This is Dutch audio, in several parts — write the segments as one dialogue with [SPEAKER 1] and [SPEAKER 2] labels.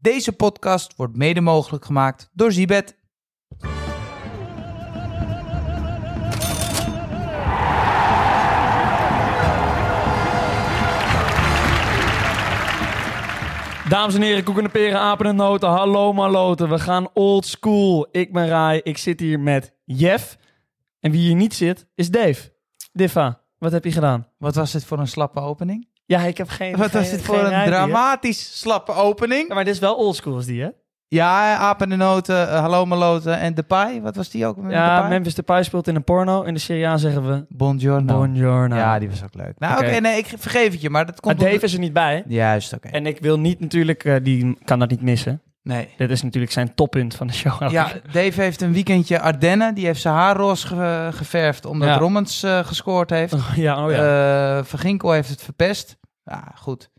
[SPEAKER 1] Deze podcast wordt mede mogelijk gemaakt door Zibet.
[SPEAKER 2] Dames en heren, koeken en peren, apen en noten. Hallo maloten, we gaan old school. Ik ben Rai, ik zit hier met Jeff. En wie hier niet zit, is Dave. Diffa, wat heb je gedaan?
[SPEAKER 1] Wat was dit voor een slappe opening?
[SPEAKER 2] Ja, ik heb geen...
[SPEAKER 1] Wat was
[SPEAKER 2] geen-
[SPEAKER 1] dit voor
[SPEAKER 2] geen
[SPEAKER 1] een
[SPEAKER 2] idee.
[SPEAKER 1] dramatisch slappe
[SPEAKER 2] Ja,
[SPEAKER 1] opening?
[SPEAKER 2] maar dit is wel old school, is die, hè?
[SPEAKER 1] Ja, apen en noten, eh, hallo maloten en Depay. Wat was die ook? met
[SPEAKER 2] Ja,
[SPEAKER 1] Depay?
[SPEAKER 2] Memphis Depay speelt in een porno. In de Serie A zeggen we...
[SPEAKER 1] Buongiorno.
[SPEAKER 2] Buongiorno.
[SPEAKER 1] Ja, die was ook leuk. Nou, oké,
[SPEAKER 2] Oké.
[SPEAKER 1] nee, ik vergeef het je, maar dat
[SPEAKER 2] Maar
[SPEAKER 1] komt...
[SPEAKER 2] Dave is er niet bij.
[SPEAKER 1] Juist, oké.
[SPEAKER 2] En ik wil niet natuurlijk... eh, die kan dat niet missen.
[SPEAKER 1] Nee.
[SPEAKER 2] Dit is natuurlijk zijn toppunt van de show.
[SPEAKER 1] Ja, Dave heeft een weekendje Ardennen. Die heeft zijn haar roze ge- geverfd omdat
[SPEAKER 2] Ja.
[SPEAKER 1] Rommens eh, gescoord heeft.
[SPEAKER 2] ja, oh ja.
[SPEAKER 1] Eh, Van Ginkel heeft het verpest. Ja, goed.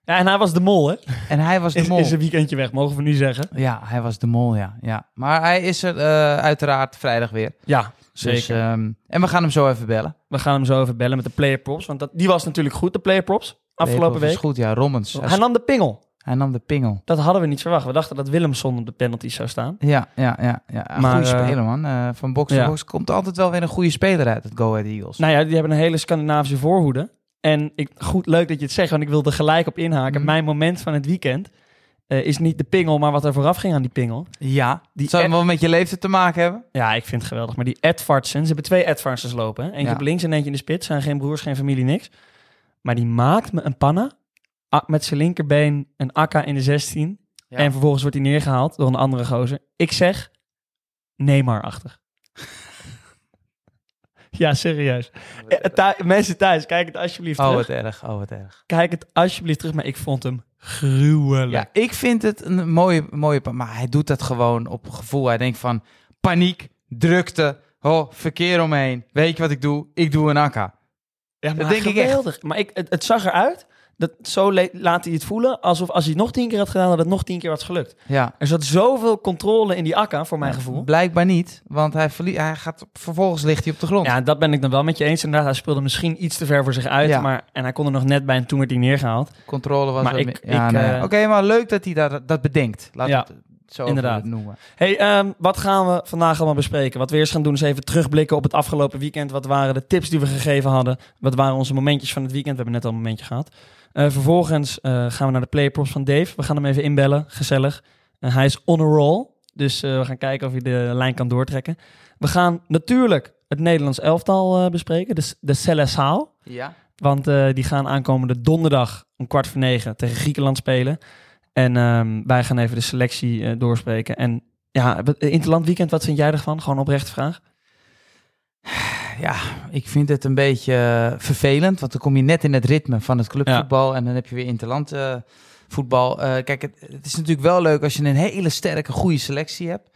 [SPEAKER 2] ja. En hij was de mol, hè?
[SPEAKER 1] En hij was de
[SPEAKER 2] Is,
[SPEAKER 1] mol.
[SPEAKER 2] is een weekendje weg, mogen we nu zeggen.
[SPEAKER 1] Ja, hij was de mol, ja. ja. Maar hij is er eh, uiteraard vrijdag weer.
[SPEAKER 2] Ja,
[SPEAKER 1] Dus, ehm, en we gaan hem zo even bellen.
[SPEAKER 2] We gaan hem zo even bellen met de player props. Want dat, die was natuurlijk goed, de player props. Afgelopen
[SPEAKER 1] Lepel is
[SPEAKER 2] week.
[SPEAKER 1] goed, ja. Rommens. Hij,
[SPEAKER 2] Hij nam de pingel.
[SPEAKER 1] hij nam de pingel.
[SPEAKER 2] Dat hadden we niet verwacht. We dachten dat Willemson op de penalty zou staan.
[SPEAKER 1] Ja, ja, ja. ja. Een
[SPEAKER 2] Maar,
[SPEAKER 1] goede
[SPEAKER 2] eh,
[SPEAKER 1] speler, man. Eh, van box to
[SPEAKER 2] ja.
[SPEAKER 1] box komt altijd wel weer een goede speler uit, het Go Ahead Eagles.
[SPEAKER 2] Nou ja, die hebben een hele Scandinavische voorhoede. En ik, goed, leuk dat je het zegt, want ik wil er gelijk op inhaken.
[SPEAKER 1] Mhm.
[SPEAKER 2] Mijn moment van het weekend eh, is niet de pingel, maar wat er vooraf ging aan die pingel.
[SPEAKER 1] ja, die
[SPEAKER 2] die
[SPEAKER 1] zou
[SPEAKER 2] Ed-
[SPEAKER 1] wel met je leeftijd te maken hebben.
[SPEAKER 2] Ja, ik vind het geweldig. Maar die Edvardsens, ze hebben twee Edvardsens lopen. hè. Eentje
[SPEAKER 1] Ja.
[SPEAKER 2] op links en eentje in de spits. Zijn geen broers, geen familie, niks. Maar die maakt me een panna. A- Met zijn linkerbeen een akka in de 16.
[SPEAKER 1] Ja.
[SPEAKER 2] En vervolgens wordt hij neergehaald door een andere gozer. Ik zeg, Neymar-achtig. ja, serieus. Eh, thu- mensen thuis, kijk het alsjeblieft
[SPEAKER 1] Oh,
[SPEAKER 2] terug.
[SPEAKER 1] wat erg. Oh, wat erg.
[SPEAKER 2] Kijk het alsjeblieft terug, maar ik vond hem gruwelijk.
[SPEAKER 1] Ja, ik vind het een mooie, mooie... pa- Maar hij doet dat gewoon op gevoel. Hij denkt van paniek, drukte, oh, verkeer omheen. Weet je wat ik doe? Ik doe een akka.
[SPEAKER 2] Ja, maar
[SPEAKER 1] Dat denk ik echt.
[SPEAKER 2] geweldig. Maar ik, het, het zag eruit, dat, zo le- laat hij het voelen, alsof als hij het nog tien keer had gedaan, dat het nog tien keer was gelukt.
[SPEAKER 1] Ja.
[SPEAKER 2] Er zat zoveel controle in die akka, voor mijn
[SPEAKER 1] Ja,
[SPEAKER 2] gevoel.
[SPEAKER 1] Blijkbaar niet, want hij, verlie- hij gaat vervolgens ligt hij op de grond.
[SPEAKER 2] Ja, dat ben ik dan wel met je eens. Inderdaad, hij speelde misschien iets te ver voor zich uit.
[SPEAKER 1] Ja.
[SPEAKER 2] Maar, en hij kon er nog net bij en toen werd hij neergehaald.
[SPEAKER 1] Controle was
[SPEAKER 2] Maar
[SPEAKER 1] wat
[SPEAKER 2] ik-
[SPEAKER 1] meer-
[SPEAKER 2] ik,
[SPEAKER 1] ja, nee.
[SPEAKER 2] eh,
[SPEAKER 1] Oké, maar leuk dat hij dat, dat bedenkt. Laat
[SPEAKER 2] Ja,
[SPEAKER 1] het zo
[SPEAKER 2] inderdaad.
[SPEAKER 1] inderdaad. noemen.
[SPEAKER 2] Hey, ehm, wat gaan we vandaag allemaal bespreken? Wat we eerst gaan doen is even terugblikken op het afgelopen weekend. Wat waren de tips die we gegeven hadden? Wat waren onze momentjes van het weekend? We hebben net al een momentje gehad. Eh, vervolgens eh, gaan we naar de playprops van Dave. We gaan hem even inbellen, gezellig. En hij is on a roll, dus eh, we gaan kijken of hij de lijn kan doortrekken. We gaan natuurlijk het Nederlands elftal eh, bespreken, de, de Seleção.
[SPEAKER 1] Ja.
[SPEAKER 2] Want eh, die gaan aankomende donderdag om kwart voor negen tegen Griekenland spelen. En ehm, wij gaan even de selectie eh, doorspreken. En ja, wat- eh, Interland Weekend, wat vind jij ervan? Gewoon oprechte vraag.
[SPEAKER 1] Ik vind het een beetje eh, vervelend, want dan kom je net in het ritme van het clubvoetbal en dan heb je weer interland eh, voetbal. Eh, kijk, het, het is natuurlijk wel leuk als je een hele sterke, goede selectie hebt,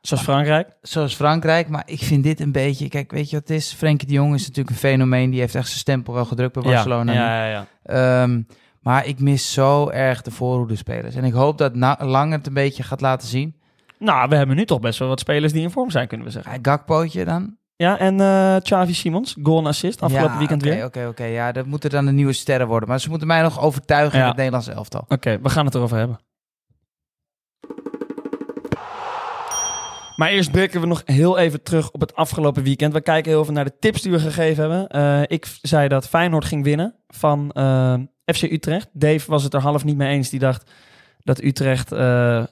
[SPEAKER 2] Zoals Frankrijk.
[SPEAKER 1] zoals Frankrijk. Maar ik vind dit een beetje, kijk, weet je wat het is? Frenkie de Jong is natuurlijk een fenomeen, die heeft echt zijn stempel wel gedrukt bij Barcelona.
[SPEAKER 2] Ja, ja, ja, ja.
[SPEAKER 1] Ehm, maar ik mis zo erg de voorhoedespelers. En ik hoop dat na, Lang het een beetje gaat laten zien.
[SPEAKER 2] Nou, we hebben nu toch best wel wat spelers die in vorm zijn, kunnen we zeggen.
[SPEAKER 1] Ah, Gakpootje dan?
[SPEAKER 2] Ja, en eh Xavi Simons, goal en assist, afgelopen
[SPEAKER 1] Ja,
[SPEAKER 2] weekend
[SPEAKER 1] oké,
[SPEAKER 2] weer. Oké,
[SPEAKER 1] Oké, oké. Ja, dat moeten dan de nieuwe sterren worden. Maar ze moeten mij nog overtuigen in
[SPEAKER 2] Ja.
[SPEAKER 1] het Nederlands elftal.
[SPEAKER 2] we gaan het erover hebben. Maar eerst blikken we nog heel even terug op het afgelopen weekend. We kijken heel even naar de tips die we gegeven hebben. Eh, ik v- zei dat Feyenoord ging winnen van eh, FC Utrecht. Dave was het er half niet mee eens. Die dacht dat Utrecht eh,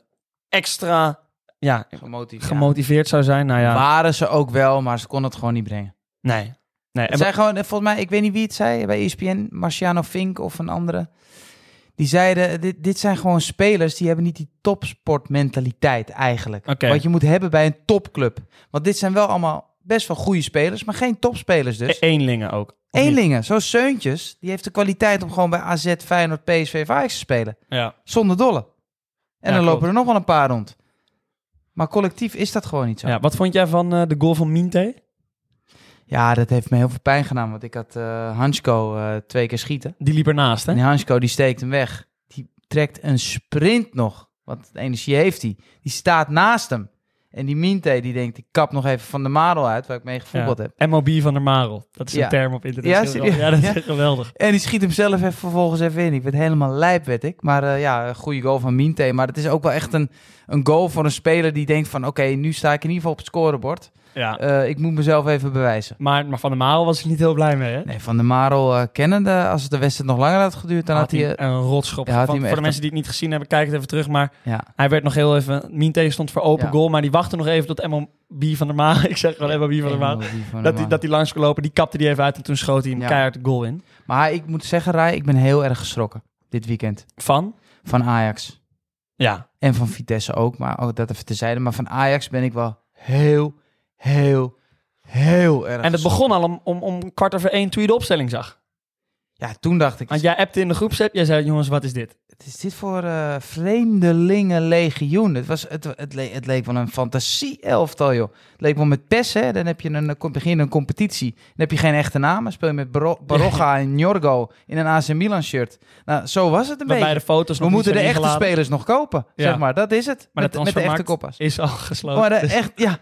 [SPEAKER 2] extra ja,
[SPEAKER 1] Gemotiveerd.
[SPEAKER 2] gemotiveerd zou zijn. Nou ja,
[SPEAKER 1] Waren ze ook wel, maar ze konden het gewoon niet brengen.
[SPEAKER 2] nee. nee.
[SPEAKER 1] Het zijn gewoon, eh, volgens mij, ik weet niet wie het zei bij E ESPN, Marciano Fink of een andere. Die zeiden, dit, dit zijn gewoon spelers die hebben niet die topsportmentaliteit eigenlijk.
[SPEAKER 2] Oké.
[SPEAKER 1] Wat je moet hebben bij een topclub. Want dit zijn wel allemaal best wel goede spelers, maar geen topspelers dus.
[SPEAKER 2] Eenlingen ook. Of E- niet?
[SPEAKER 1] Eenlingen, zo'n Seuntjes, die heeft de kwaliteit om gewoon bij AZ, Feyenoord, PSV of Ajax te spelen.
[SPEAKER 2] Ja.
[SPEAKER 1] Zonder dolle. En
[SPEAKER 2] Ja,
[SPEAKER 1] dan
[SPEAKER 2] klopt.
[SPEAKER 1] lopen er nog wel een paar rond. Maar collectief is dat gewoon niet zo. Ja,
[SPEAKER 2] Ja, wat vond jij van eh, de goal van Minte?
[SPEAKER 1] dat heeft me heel veel pijn gedaan, want ik had eh Hansko eh, twee keer schieten.
[SPEAKER 2] Die liep ernaast, hè?
[SPEAKER 1] En die Hansko die steekt hem weg. Die trekt een sprint nog, want energie heeft hij. Die staat naast hem. En die Minte, die denkt, ik kap nog even van de Marel uit, waar ik mee gevoetbald heb.
[SPEAKER 2] MOB van der Marel. Dat is
[SPEAKER 1] Ja.
[SPEAKER 2] een term op internet.
[SPEAKER 1] Ja,
[SPEAKER 2] Dat is heel
[SPEAKER 1] serieus?
[SPEAKER 2] grappig. ja, dat
[SPEAKER 1] Ja.
[SPEAKER 2] is geweldig.
[SPEAKER 1] En die schiet hem zelf even vervolgens even in. Ik werd helemaal lijp, werd ik. Maar eh, ja, een goede goal van Minte. Maar het is ook wel echt een, een goal van een speler die denkt van... oké, nu sta ik in ieder geval op het scorebord.
[SPEAKER 2] Ja.
[SPEAKER 1] Eh, ik moet mezelf even bewijzen.
[SPEAKER 2] Maar, maar Van der Marel was er niet heel blij mee, hè?
[SPEAKER 1] Nee, Van der Marel eh, kennende, als het de wedstrijd nog langer had geduurd... dan had hij... eh,
[SPEAKER 2] een rotschop.
[SPEAKER 1] Ja, had hij
[SPEAKER 2] van,
[SPEAKER 1] hem
[SPEAKER 2] voor de
[SPEAKER 1] echt-
[SPEAKER 2] mensen die het niet gezien hebben, kijk het even terug. Maar
[SPEAKER 1] eh, ja.
[SPEAKER 2] hij werd nog heel even... Minte stond voor open
[SPEAKER 1] Ja.
[SPEAKER 2] goal, maar die wachtte nog even tot MOB van der Marel... Ik zeg gewoon MOB van der Marel.
[SPEAKER 1] Helemaal die van der
[SPEAKER 2] Dat hij,
[SPEAKER 1] Marel.
[SPEAKER 2] dat hij langs kon lopen, die kapte die even uit en toen schoot hij hem
[SPEAKER 1] Ja.
[SPEAKER 2] keihard de goal in.
[SPEAKER 1] Maar ik moet zeggen, Rai, ik ben heel erg geschrokken dit weekend.
[SPEAKER 2] Van?
[SPEAKER 1] Van Ajax.
[SPEAKER 2] Ja.
[SPEAKER 1] En van Vitesse ook, maar oh, dat even terzijde. Maar van Ajax ben ik wel heel, heel, heel erg
[SPEAKER 2] En het
[SPEAKER 1] geschrokken.
[SPEAKER 2] begon al om, om, om kwart over één toen je de opstelling zag.
[SPEAKER 1] Ja, toen dacht ik,
[SPEAKER 2] Want jij appte in de groepsapp, jij zei, jongens, wat is dit?
[SPEAKER 1] Het is dit voor eh vreemdelingenlegioen? Het, was, het, het, le- het leek wel een fantasie-elftal, joh. Het leek wel met PES, hè. Dan heb je een, eh, kom- begin je een competitie. Dan heb je geen echte naam. Dan speel je met Baro- Baroja en Jorgo in een AC Milan shirt. Nou, zo was het een
[SPEAKER 2] Waarbij de
[SPEAKER 1] beetje.
[SPEAKER 2] foto's nog
[SPEAKER 1] We
[SPEAKER 2] niet
[SPEAKER 1] moeten de
[SPEAKER 2] zijn
[SPEAKER 1] echte
[SPEAKER 2] ingeladen.
[SPEAKER 1] spelers nog kopen,
[SPEAKER 2] Ja.
[SPEAKER 1] zeg maar. Dat is het.
[SPEAKER 2] Maar
[SPEAKER 1] met,
[SPEAKER 2] de
[SPEAKER 1] met de echte
[SPEAKER 2] transfermarkt-
[SPEAKER 1] koppas.
[SPEAKER 2] Is al gesloten.
[SPEAKER 1] Maar de,
[SPEAKER 2] Dus
[SPEAKER 1] echt, ja.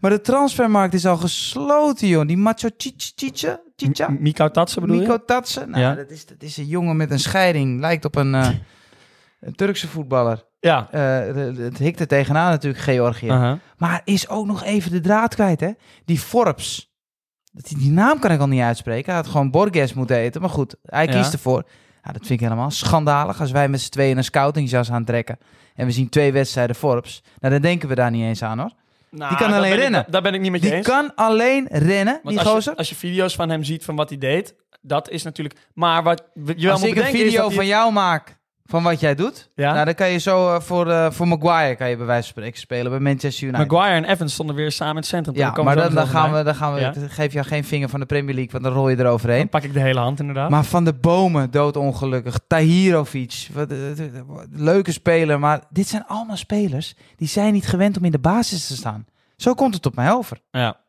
[SPEAKER 1] maar de transfermarkt is al gesloten, joh. Die macho Chicha, Chicha, Chicha.
[SPEAKER 2] M- Mikko Tatsen bedoel je?
[SPEAKER 1] Nico Tatsen. Nou,
[SPEAKER 2] Ja.
[SPEAKER 1] dat, is, dat is een jongen met een scheiding. Lijkt op een, eh, een Turkse voetballer.
[SPEAKER 2] Ja.
[SPEAKER 1] Eh, de- de- het hikt er tegenaan natuurlijk, Georgië.
[SPEAKER 2] Aha.
[SPEAKER 1] Maar is ook nog even de draad kwijt, hè? Die Forbes. Dat, die, die naam kan ik al niet uitspreken. Hij had gewoon Borges moeten eten. Maar goed, hij
[SPEAKER 2] Ja.
[SPEAKER 1] kiest ervoor. Ja, dat vind ik helemaal schandalig. Als wij met z'n tweeën een scoutingjas aantrekken... en we zien twee wedstrijden Forbes... nou, dan denken we daar niet eens aan, hoor.
[SPEAKER 2] Nou,
[SPEAKER 1] Die kan
[SPEAKER 2] daar
[SPEAKER 1] alleen
[SPEAKER 2] ben ik-
[SPEAKER 1] rennen.
[SPEAKER 2] daar ben ik niet met je
[SPEAKER 1] Die
[SPEAKER 2] eens.
[SPEAKER 1] kan alleen rennen,
[SPEAKER 2] Want
[SPEAKER 1] die
[SPEAKER 2] als
[SPEAKER 1] gozer.
[SPEAKER 2] Je, als je video's van hem ziet van wat hij deed, dat is natuurlijk. Maar wat je wel
[SPEAKER 1] Als
[SPEAKER 2] moet
[SPEAKER 1] ik een
[SPEAKER 2] bedenken is
[SPEAKER 1] video
[SPEAKER 2] dat hij-
[SPEAKER 1] van jou maak van wat jij doet,
[SPEAKER 2] Ja?
[SPEAKER 1] nou, dan kan je zo eh, voor, eh, voor Maguire kan je bij wijze van spreken spelen bij Manchester United.
[SPEAKER 2] Maguire en Evans stonden weer samen in het centrum. Daar
[SPEAKER 1] nou, ja,
[SPEAKER 2] komen
[SPEAKER 1] maar
[SPEAKER 2] we zo
[SPEAKER 1] dan,
[SPEAKER 2] nog
[SPEAKER 1] dan
[SPEAKER 2] wel
[SPEAKER 1] gaan
[SPEAKER 2] bij.
[SPEAKER 1] we, dan gaan we,
[SPEAKER 2] Ja.
[SPEAKER 1] dan geef je jou geen vinger van de Premier League, want dan rol je eroverheen.
[SPEAKER 2] Dan pak ik de hele hand inderdaad.
[SPEAKER 1] Maar Van de Bomen, doodongelukkig. Tahirovic, wat, eh, eh, eh, wat- leuke speler. Maar dit zijn allemaal spelers die zijn niet gewend om in de basis te staan. Zo komt het op mij over.
[SPEAKER 2] ja.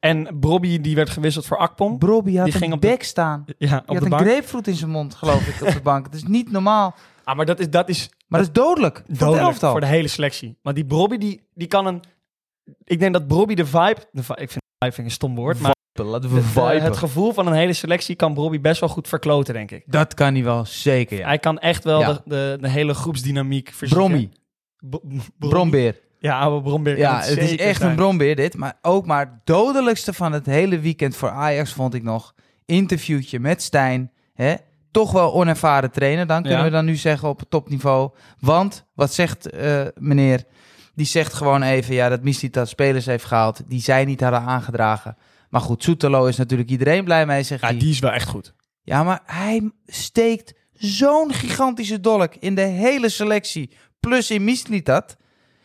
[SPEAKER 2] En Brobby die werd gewisseld voor Akpom.
[SPEAKER 1] Brobby had
[SPEAKER 2] Oh. Die
[SPEAKER 1] een
[SPEAKER 2] ging op de-
[SPEAKER 1] bek staan.
[SPEAKER 2] Ja,
[SPEAKER 1] Die
[SPEAKER 2] op
[SPEAKER 1] had
[SPEAKER 2] de
[SPEAKER 1] een
[SPEAKER 2] bank.
[SPEAKER 1] grapefruit in zijn mond, geloof ik, op de bank. Het is niet normaal.
[SPEAKER 2] Ah, maar dat is, dat is
[SPEAKER 1] Maar dat is dodelijk. voor het
[SPEAKER 2] dodelijk
[SPEAKER 1] elftal.
[SPEAKER 2] voor de hele selectie. Want die Brobby die, die kan een. Ik denk dat Brobby de vibe. De vi- ik vind vibe vind ik een stom woord. Maar
[SPEAKER 1] Laten
[SPEAKER 2] de- de- eh, het gevoel van een hele selectie kan Brobby best wel goed verkloten, denk ik.
[SPEAKER 1] Dat kan hij wel, zeker ja.
[SPEAKER 2] Hij kan echt wel
[SPEAKER 1] Ja.
[SPEAKER 2] de, de, de hele groepsdynamiek verzieken.
[SPEAKER 1] Brommy,
[SPEAKER 2] Bro-
[SPEAKER 1] brombeer.
[SPEAKER 2] Ja, oude brombeer. kan
[SPEAKER 1] Ja, het is
[SPEAKER 2] zeker
[SPEAKER 1] echt
[SPEAKER 2] zijn.
[SPEAKER 1] een brombeer dit. Maar ook maar het dodelijkste van het hele weekend voor Ajax vond ik nog. Interviewtje met Stijn. Hè? Toch wel onervaren trainer, dan kunnen
[SPEAKER 2] Ja.
[SPEAKER 1] we dan nu zeggen op het topniveau. Want, wat zegt eh, meneer? Die zegt gewoon even, ja, dat Misty dat spelers heeft gehaald. Die zij niet hadden aangedragen. Maar goed, Soetelo is natuurlijk iedereen blij mee, zegt
[SPEAKER 2] Ja,
[SPEAKER 1] hij.
[SPEAKER 2] die is wel echt goed.
[SPEAKER 1] Ja, maar hij steekt zo'n gigantische dolk in de hele selectie. Plus in Mislitat.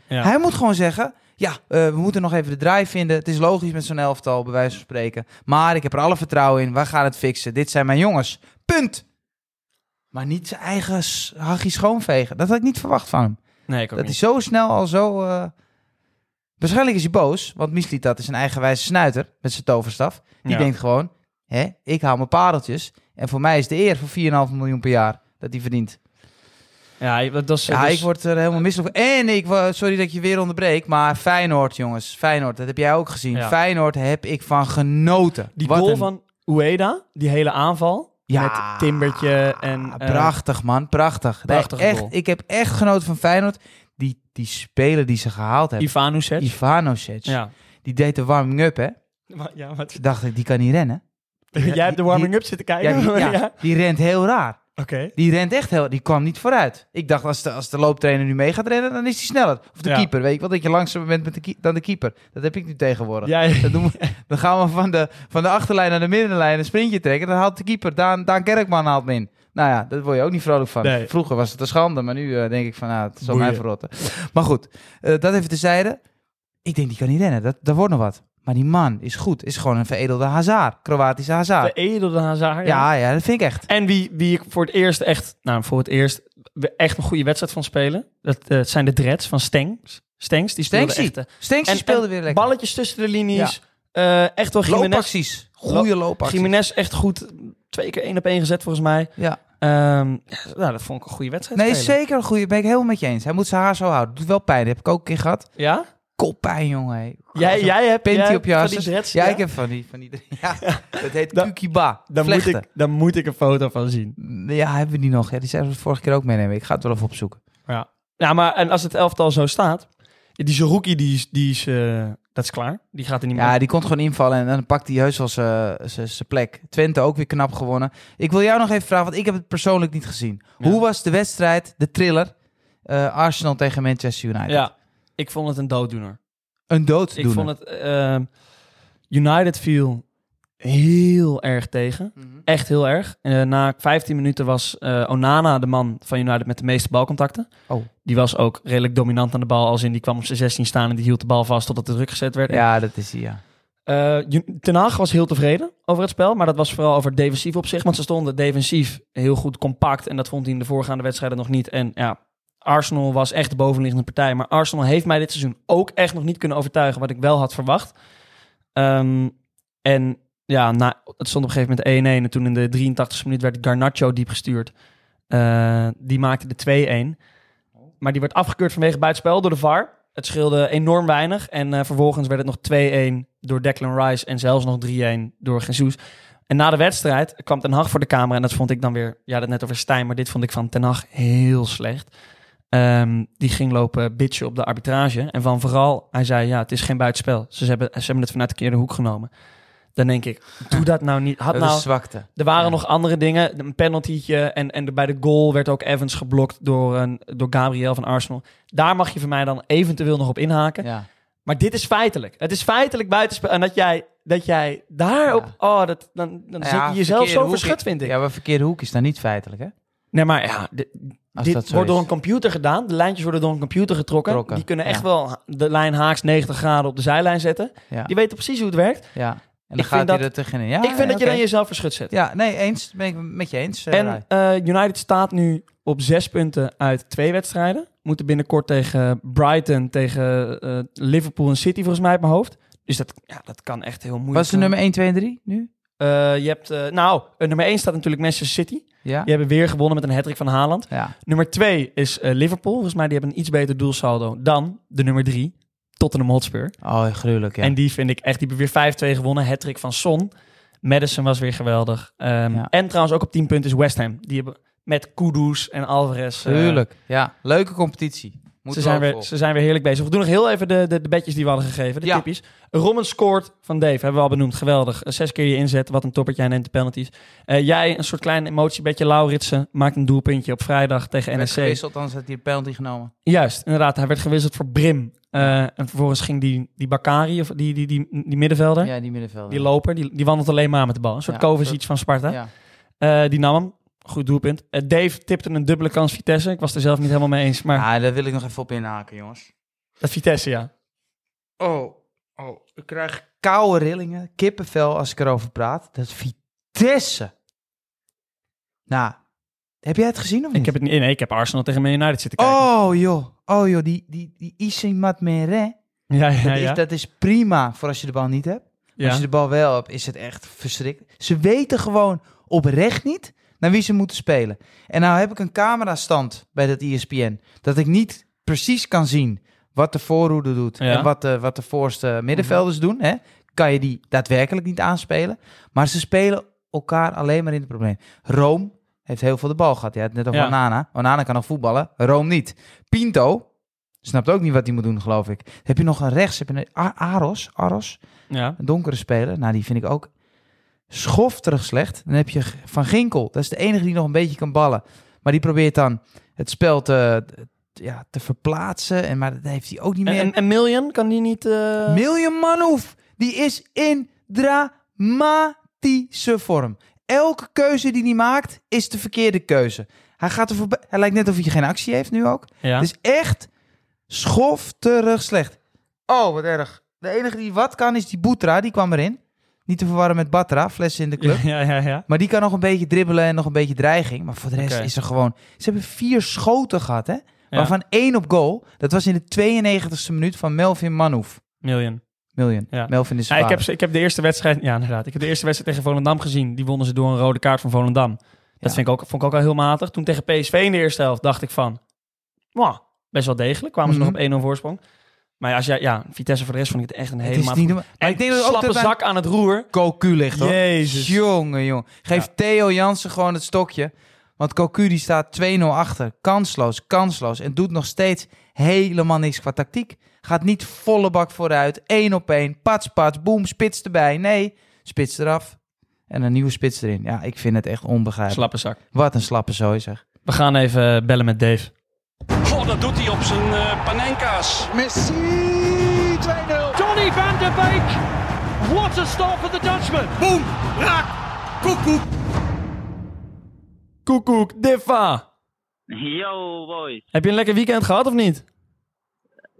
[SPEAKER 2] Ja.
[SPEAKER 1] Hij moet gewoon zeggen... Ja, eh, we moeten nog even de draai vinden. Het is logisch met zo'n elftal, bij wijze van spreken. Maar ik heb er alle vertrouwen in. Wij gaan het fixen. Dit zijn mijn jongens. Punt. Maar niet zijn eigen s- hachie schoonvegen. Dat had ik niet verwacht van hem.
[SPEAKER 2] Nee, ik ook
[SPEAKER 1] Dat hij
[SPEAKER 2] niet.
[SPEAKER 1] zo snel al zo... eh, Waarschijnlijk is hij boos, want Mislitat is een eigenwijze snuiter met zijn toverstaf. Die
[SPEAKER 2] Ja.
[SPEAKER 1] denkt gewoon, hè, ik hou mijn pareltjes. En voor mij is de eer voor 4,5 miljoen per jaar dat hij verdient.
[SPEAKER 2] Ja, dat is... dus
[SPEAKER 1] Ja,
[SPEAKER 2] dat is-
[SPEAKER 1] ik word er helemaal misselijk van. En ik, wa- sorry dat ik je weer onderbreek, maar Feyenoord, jongens. Feyenoord, dat heb jij ook gezien.
[SPEAKER 2] Ja.
[SPEAKER 1] Feyenoord heb ik van genoten.
[SPEAKER 2] Die
[SPEAKER 1] Wat
[SPEAKER 2] goal
[SPEAKER 1] een-
[SPEAKER 2] van Ueda, die hele aanval.
[SPEAKER 1] Ja.
[SPEAKER 2] Met Timbertje en... eh,
[SPEAKER 1] prachtig, man. Prachtig. Nee,
[SPEAKER 2] prachtige
[SPEAKER 1] echt,
[SPEAKER 2] goal.
[SPEAKER 1] ik heb echt genoten van Feyenoord. Die, die speler die ze gehaald hebben,
[SPEAKER 2] Ivanuset.
[SPEAKER 1] Ivanovic,
[SPEAKER 2] Ja.
[SPEAKER 1] die deed de warming-up, hè.
[SPEAKER 2] Maar- ja, maar-
[SPEAKER 1] Dacht ik, die kan niet rennen.
[SPEAKER 2] Jij hebt de warming-up zitten kijken.
[SPEAKER 1] Ja, die, ja,
[SPEAKER 2] Ja.
[SPEAKER 1] die rent heel raar.
[SPEAKER 2] Oké.
[SPEAKER 1] Die rent echt heel... Die kwam niet vooruit. Ik dacht, als de, als de looptrainer nu mee gaat rennen, dan is hij sneller. Of de
[SPEAKER 2] Ja.
[SPEAKER 1] keeper, weet ik wel. Dat je langzamer bent met de keep- dan de keeper. Dat heb ik nu tegenwoordig.
[SPEAKER 2] Ja, ja.
[SPEAKER 1] Dat doen we- dan gaan we van de, van de achterlijn naar de middenlijn een sprintje trekken. Dan haalt de keeper, Daan, Daan Kerkman haalt me in. Nou ja, daar word je ook niet vrolijk van.
[SPEAKER 2] Nee.
[SPEAKER 1] Vroeger was het een schande, maar nu eh, denk ik van, nou, het zal
[SPEAKER 2] Boeien.
[SPEAKER 1] mij verrotten. Maar goed, eh, dat even tezijde. Ik denk, die kan niet rennen. Dat, dat wordt nog wat. Maar die man is goed. Is gewoon een veredelde Hazard. Kroatische Hazard.
[SPEAKER 2] Veredelde Hazard.
[SPEAKER 1] Ja, ja, dat vind ik echt.
[SPEAKER 2] En wie, wie ik voor het eerst echt... Nou, voor het eerst we echt een goede wedstrijd van spelen. Dat eh, zijn de dreads van Stengs. Stengs, die speelde
[SPEAKER 1] Stengsie.
[SPEAKER 2] echt... eh,
[SPEAKER 1] Stenks
[SPEAKER 2] en-
[SPEAKER 1] speelde
[SPEAKER 2] en
[SPEAKER 1] weer lekker.
[SPEAKER 2] Balletjes tussen de linies. Eh, echt wel Jiménez.
[SPEAKER 1] Loopacties. Goede loopacties.
[SPEAKER 2] Jiménez echt goed. Twee keer één op één gezet volgens mij.
[SPEAKER 1] Ja.
[SPEAKER 2] Ehm, ja, nou, dat vond ik een goede wedstrijd.
[SPEAKER 1] Nee,
[SPEAKER 2] spelen.
[SPEAKER 1] zeker een goede. Ben ik helemaal met je eens. Hij moet zijn haar zo houden. Doet wel pijn. heb ik ook een keer gehad.
[SPEAKER 2] Ja?
[SPEAKER 1] koppijn, jongen. hé.
[SPEAKER 2] Jij,
[SPEAKER 1] Zo'n
[SPEAKER 2] jij hebt
[SPEAKER 1] panty
[SPEAKER 2] jij
[SPEAKER 1] op
[SPEAKER 2] hebt
[SPEAKER 1] je
[SPEAKER 2] van
[SPEAKER 1] hartjes.
[SPEAKER 2] die dreads,
[SPEAKER 1] Ja,
[SPEAKER 2] ja?
[SPEAKER 1] ik heb van die... Van die ja, dat heet
[SPEAKER 2] Dan-
[SPEAKER 1] Kukiba.
[SPEAKER 2] dan, moet ik, dan moet ik een foto van zien.
[SPEAKER 1] Ja, hebben we die nog? Ja, die zijn we vorige keer ook meenemen. Ik ga het wel even opzoeken.
[SPEAKER 2] Ja. ja, maar en als het elftal zo staat, die Zerouki, die is, die is eh, dat is klaar. Die gaat er niet meer.
[SPEAKER 1] Ja, die kon gewoon invallen en dan pakt hij heus wel zijn plek. Twente ook weer knap gewonnen. Ik wil jou nog even vragen, want ik heb het persoonlijk niet gezien.
[SPEAKER 2] Ja.
[SPEAKER 1] Hoe was de wedstrijd, de thriller, eh, Arsenal tegen Manchester United?
[SPEAKER 2] ja, ik vond het een dooddoener.
[SPEAKER 1] Een dood
[SPEAKER 2] Ik vond het eh, United viel heel erg tegen. Echt heel erg. Eh, na 15 minuten was eh, Onana de man van United met de meeste balcontacten.
[SPEAKER 1] Oh.
[SPEAKER 2] Die was ook redelijk dominant aan de bal. Als in die kwam op zijn 16 staan en die hield de bal vast totdat de druk gezet werd.
[SPEAKER 1] Ja, dat is hij, ja.
[SPEAKER 2] Eh, Ju- Ten Hag was heel tevreden over het spel, maar dat was vooral over het defensief op zich. Want ze stonden defensief heel goed compact en dat vond hij in de voorgaande wedstrijden nog niet. En ja, Arsenal was echt de bovenliggende partij. Maar Arsenal heeft mij dit seizoen ook echt nog niet kunnen overtuigen wat ik wel had verwacht. Ehm, en ja, na, het stond op een gegeven moment 1-1 en toen in de 83e minuut werd Garnacho diep gestuurd. Eh, die maakte de 2-1. Maar die werd afgekeurd vanwege buitenspel door de VAR. Het scheelde enorm weinig. En eh, vervolgens werd het nog 2-1 door Declan Rice. En zelfs nog 3-1 door Jesus. En na de wedstrijd kwam Ten Hag voor de camera. En dat vond ik dan weer... Ja, dat net over Stijn. Maar dit vond ik van Ten Hag heel slecht. Ehm, die ging lopen bitchen op de arbitrage. En van vooral, hij zei... Ja, het is geen buitenspel. Ze hebben, ze hebben het vanuit de verkeerde hoek genomen. Dan denk ik, doe dat nou niet. Had
[SPEAKER 1] dat
[SPEAKER 2] nou,
[SPEAKER 1] is zwakte.
[SPEAKER 2] er waren
[SPEAKER 1] Ja.
[SPEAKER 2] nog andere dingen. Een penaltytje. En, en de- bij de goal werd ook Evans geblokt door, een, door Gabriel van Arsenal. Daar mag je van mij dan eventueel nog op inhaken.
[SPEAKER 1] Ja.
[SPEAKER 2] Maar dit is feitelijk. Het is feitelijk buitenspel. En dat jij, dat jij daarop... Oh, dat, dan, dan
[SPEAKER 1] Ja,
[SPEAKER 2] zet je jezelf
[SPEAKER 1] verkeerde
[SPEAKER 2] zo
[SPEAKER 1] hoek.
[SPEAKER 2] verschut, vind ik.
[SPEAKER 1] ja, maar verkeerde hoek is daar niet feitelijk, hè?
[SPEAKER 2] Nee, maar ja, dit,
[SPEAKER 1] Als
[SPEAKER 2] dit
[SPEAKER 1] dat zo
[SPEAKER 2] wordt door
[SPEAKER 1] is.
[SPEAKER 2] een computer gedaan. De lijntjes worden door een computer getrokken.
[SPEAKER 1] Trokken,
[SPEAKER 2] Die kunnen echt
[SPEAKER 1] ja.
[SPEAKER 2] wel ha- de lijn haaks 90 graden op de zijlijn zetten.
[SPEAKER 1] Ja.
[SPEAKER 2] Die weten precies hoe het werkt.
[SPEAKER 1] ja. En dan
[SPEAKER 2] vind
[SPEAKER 1] gaat hij
[SPEAKER 2] dat-
[SPEAKER 1] er tegenin. Ja,
[SPEAKER 2] ik vind
[SPEAKER 1] ja,
[SPEAKER 2] dat je dan
[SPEAKER 1] oké.
[SPEAKER 2] jezelf verschut zet.
[SPEAKER 1] Ja, nee, eens. Ben ik met je eens. eh, Rai.
[SPEAKER 2] En eh, United staat nu op zes punten uit twee wedstrijden. Moeten binnenkort tegen eh, Brighton, tegen eh, Liverpool en City volgens mij uit mijn hoofd. Dus dat, ja, dat kan echt heel moeilijk
[SPEAKER 1] was de
[SPEAKER 2] zijn.
[SPEAKER 1] nummer 1, 2 en 3 nu?
[SPEAKER 2] Eh, je hebt, eh, nou, eh, nummer 1 staat natuurlijk Manchester City.
[SPEAKER 1] Ja.
[SPEAKER 2] Die hebben weer gewonnen met een hat van Haaland.
[SPEAKER 1] Ja.
[SPEAKER 2] Nummer 2 is eh, Liverpool. Volgens mij die hebben een iets beter doelsaldo dan de nummer 3, Tottenham Hotspur.
[SPEAKER 1] Oh, gruwelijk, ja.
[SPEAKER 2] En die vind ik echt, die hebben weer 5-2 gewonnen. hat van Son. Madison was weer geweldig. Ehm,
[SPEAKER 1] Ja.
[SPEAKER 2] En trouwens ook op 10 punten is West Ham. Die hebben met Kudus en Alvarez. eh,
[SPEAKER 1] Tuurlijk, ja. Leuke competitie.
[SPEAKER 2] ze
[SPEAKER 1] Moeten
[SPEAKER 2] zijn,
[SPEAKER 1] we
[SPEAKER 2] weer,
[SPEAKER 1] ook
[SPEAKER 2] ze zijn weer heerlijk bezig. We doen nog heel even de, de, de bedjes die we hadden gegeven, de
[SPEAKER 1] Ja.
[SPEAKER 2] tipjes. Rommen scoort van Dave, hebben we al benoemd. Geweldig. Eh, Zes keer je inzet, wat een toppertje en neemt de penalties. Eh, jij, een soort klein emotiebedje, Lauritsen, maakt een doelpuntje op vrijdag tegen
[SPEAKER 1] Werd
[SPEAKER 2] NSC.
[SPEAKER 1] gewisseld, anders had hij een penalty genomen.
[SPEAKER 2] Juist, inderdaad. Hij werd gewisseld voor Brim. Eh, en vervolgens ging die, die Bakari, of die, die, die, die middenvelder,
[SPEAKER 1] Ja, die middenvelder.
[SPEAKER 2] die loper, die, die wandelt alleen maar aan met de bal. Een soort
[SPEAKER 1] Ja,
[SPEAKER 2] Kovacic
[SPEAKER 1] dat-
[SPEAKER 2] van Sparta.
[SPEAKER 1] Ja.
[SPEAKER 2] Eh, die nam hem. Goed doelpunt. Eh, Dave tipte een dubbele kans Vitesse. Ik was er zelf niet helemaal mee eens, maar
[SPEAKER 1] Ah, daar wil ik nog even op inhaken, jongens.
[SPEAKER 2] dat Vitesse, ja.
[SPEAKER 1] Hmm. Oh, oh, ik krijg koude rillingen, kippenvel als ik erover praat. Dat Vitesse. Nou, heb jij het gezien of niet?
[SPEAKER 2] Ik heb het niet. Nee, ik heb Arsenal tegen Man United zitten kijken.
[SPEAKER 1] Oh joh, oh joh, die, die, die Issing Matmere,
[SPEAKER 2] ja, ja,
[SPEAKER 1] dat,
[SPEAKER 2] ja.
[SPEAKER 1] is, dat is prima voor als je de bal niet hebt.
[SPEAKER 2] ja.
[SPEAKER 1] Als je de bal wel hebt, is het echt verschrikkelijk. Ze weten gewoon oprecht niet naar wie ze moeten spelen. En nou heb ik een camerastand bij dat E ESPN. Dat ik niet precies kan zien wat de voorhoede doet
[SPEAKER 2] Ja.
[SPEAKER 1] en wat de, wat de voorste middenvelders doen. Hè? Kan je die daadwerkelijk niet aanspelen. Maar ze spelen elkaar alleen maar in het probleem. Room heeft heel veel de bal gehad. Je had het net over
[SPEAKER 2] Ja.
[SPEAKER 1] Onana. Onana kan nog voetballen, Room niet. Pinto snapt ook niet wat hij moet doen, geloof ik. Heb je nog een rechts? Heb je een A- Aros? Aros?
[SPEAKER 2] ja.
[SPEAKER 1] Een donkere speler. Nou, die vind ik ook schofterig slecht. Dan heb je G- Van Ginkel. Dat is de enige die nog een beetje kan ballen. Maar die probeert dan het spel te, te- ja, te verplaatsen. En, maar dat heeft hij ook niet
[SPEAKER 2] En,
[SPEAKER 1] meer.
[SPEAKER 2] en, en Million kan die niet. eh,
[SPEAKER 1] Miljan Manhoef, die is in dramatische vorm. Elke keuze die hij maakt, is de verkeerde keuze. Hij, gaat er voorbij. hij lijkt net of hij geen actie heeft nu ook.
[SPEAKER 2] ja.
[SPEAKER 1] Het is echt schofterig slecht. Oh, wat erg. De enige die wat kan is die Boetra, die kwam erin. Niet te verwarren met Batra, flessen in de club.
[SPEAKER 2] ja, ja, ja, ja.
[SPEAKER 1] Maar die kan nog een beetje dribbelen en nog een beetje dreiging. Maar voor de rest
[SPEAKER 2] Oké.
[SPEAKER 1] is er gewoon... Ze hebben vier schoten gehad, hè?
[SPEAKER 2] Ja.
[SPEAKER 1] Waarvan één op goal. Dat was in de 92e minuut van Melvin Manhoef.
[SPEAKER 2] Million.
[SPEAKER 1] Miljoen.
[SPEAKER 2] Ja.
[SPEAKER 1] Melvin is
[SPEAKER 2] Ja, ik,
[SPEAKER 1] vader.
[SPEAKER 2] heb, ze- ik heb de eerste wedstrijd. Ja, inderdaad. Ik heb de eerste wedstrijd tegen Volendam gezien. Die wonnen ze door een rode kaart van Volendam. Dat
[SPEAKER 1] Ja.
[SPEAKER 2] vind ik ook, vond ik ook al heel matig. Toen tegen PSV in de eerste helft dacht ik van. Wow, best wel degelijk. Kwamen
[SPEAKER 1] Mhm.
[SPEAKER 2] ze nog op 1-0 voorsprong. Maar ja, als jij, ja, Vitesse voor de rest vond ik het echt een
[SPEAKER 1] Het is
[SPEAKER 2] helemaal...
[SPEAKER 1] niet normaal. Maar
[SPEAKER 2] en
[SPEAKER 1] ik denk dat ook
[SPEAKER 2] slappe
[SPEAKER 1] dat zak...
[SPEAKER 2] zak aan het roer.
[SPEAKER 1] Cocu ligt, hoor.
[SPEAKER 2] Jezus.
[SPEAKER 1] Jongen, jong. Geef
[SPEAKER 2] Ja.
[SPEAKER 1] Theo Jansen gewoon het stokje. Want Cocu die staat 2-0 achter. Kansloos, kansloos. En doet nog steeds helemaal niks qua tactiek. Gaat niet volle bak vooruit. Eén op één. Pats, pats. Boom. Spits erbij. Nee. Spits eraf. En een nieuwe spits erin. Ja, ik vind het echt onbegrijpelijk.
[SPEAKER 2] Slappe zak.
[SPEAKER 1] Wat een slappe zooi zeg.
[SPEAKER 2] We gaan even eh, bellen met Dave.
[SPEAKER 3] Goh, dat doet hij op zijn eh panenka's.
[SPEAKER 4] Messi 2-0.
[SPEAKER 5] Donny van de Beek. What a start for the Dutchman.
[SPEAKER 2] Koekoek, Diffa.
[SPEAKER 6] Yo, boy.
[SPEAKER 2] Heb je een lekker weekend gehad of niet?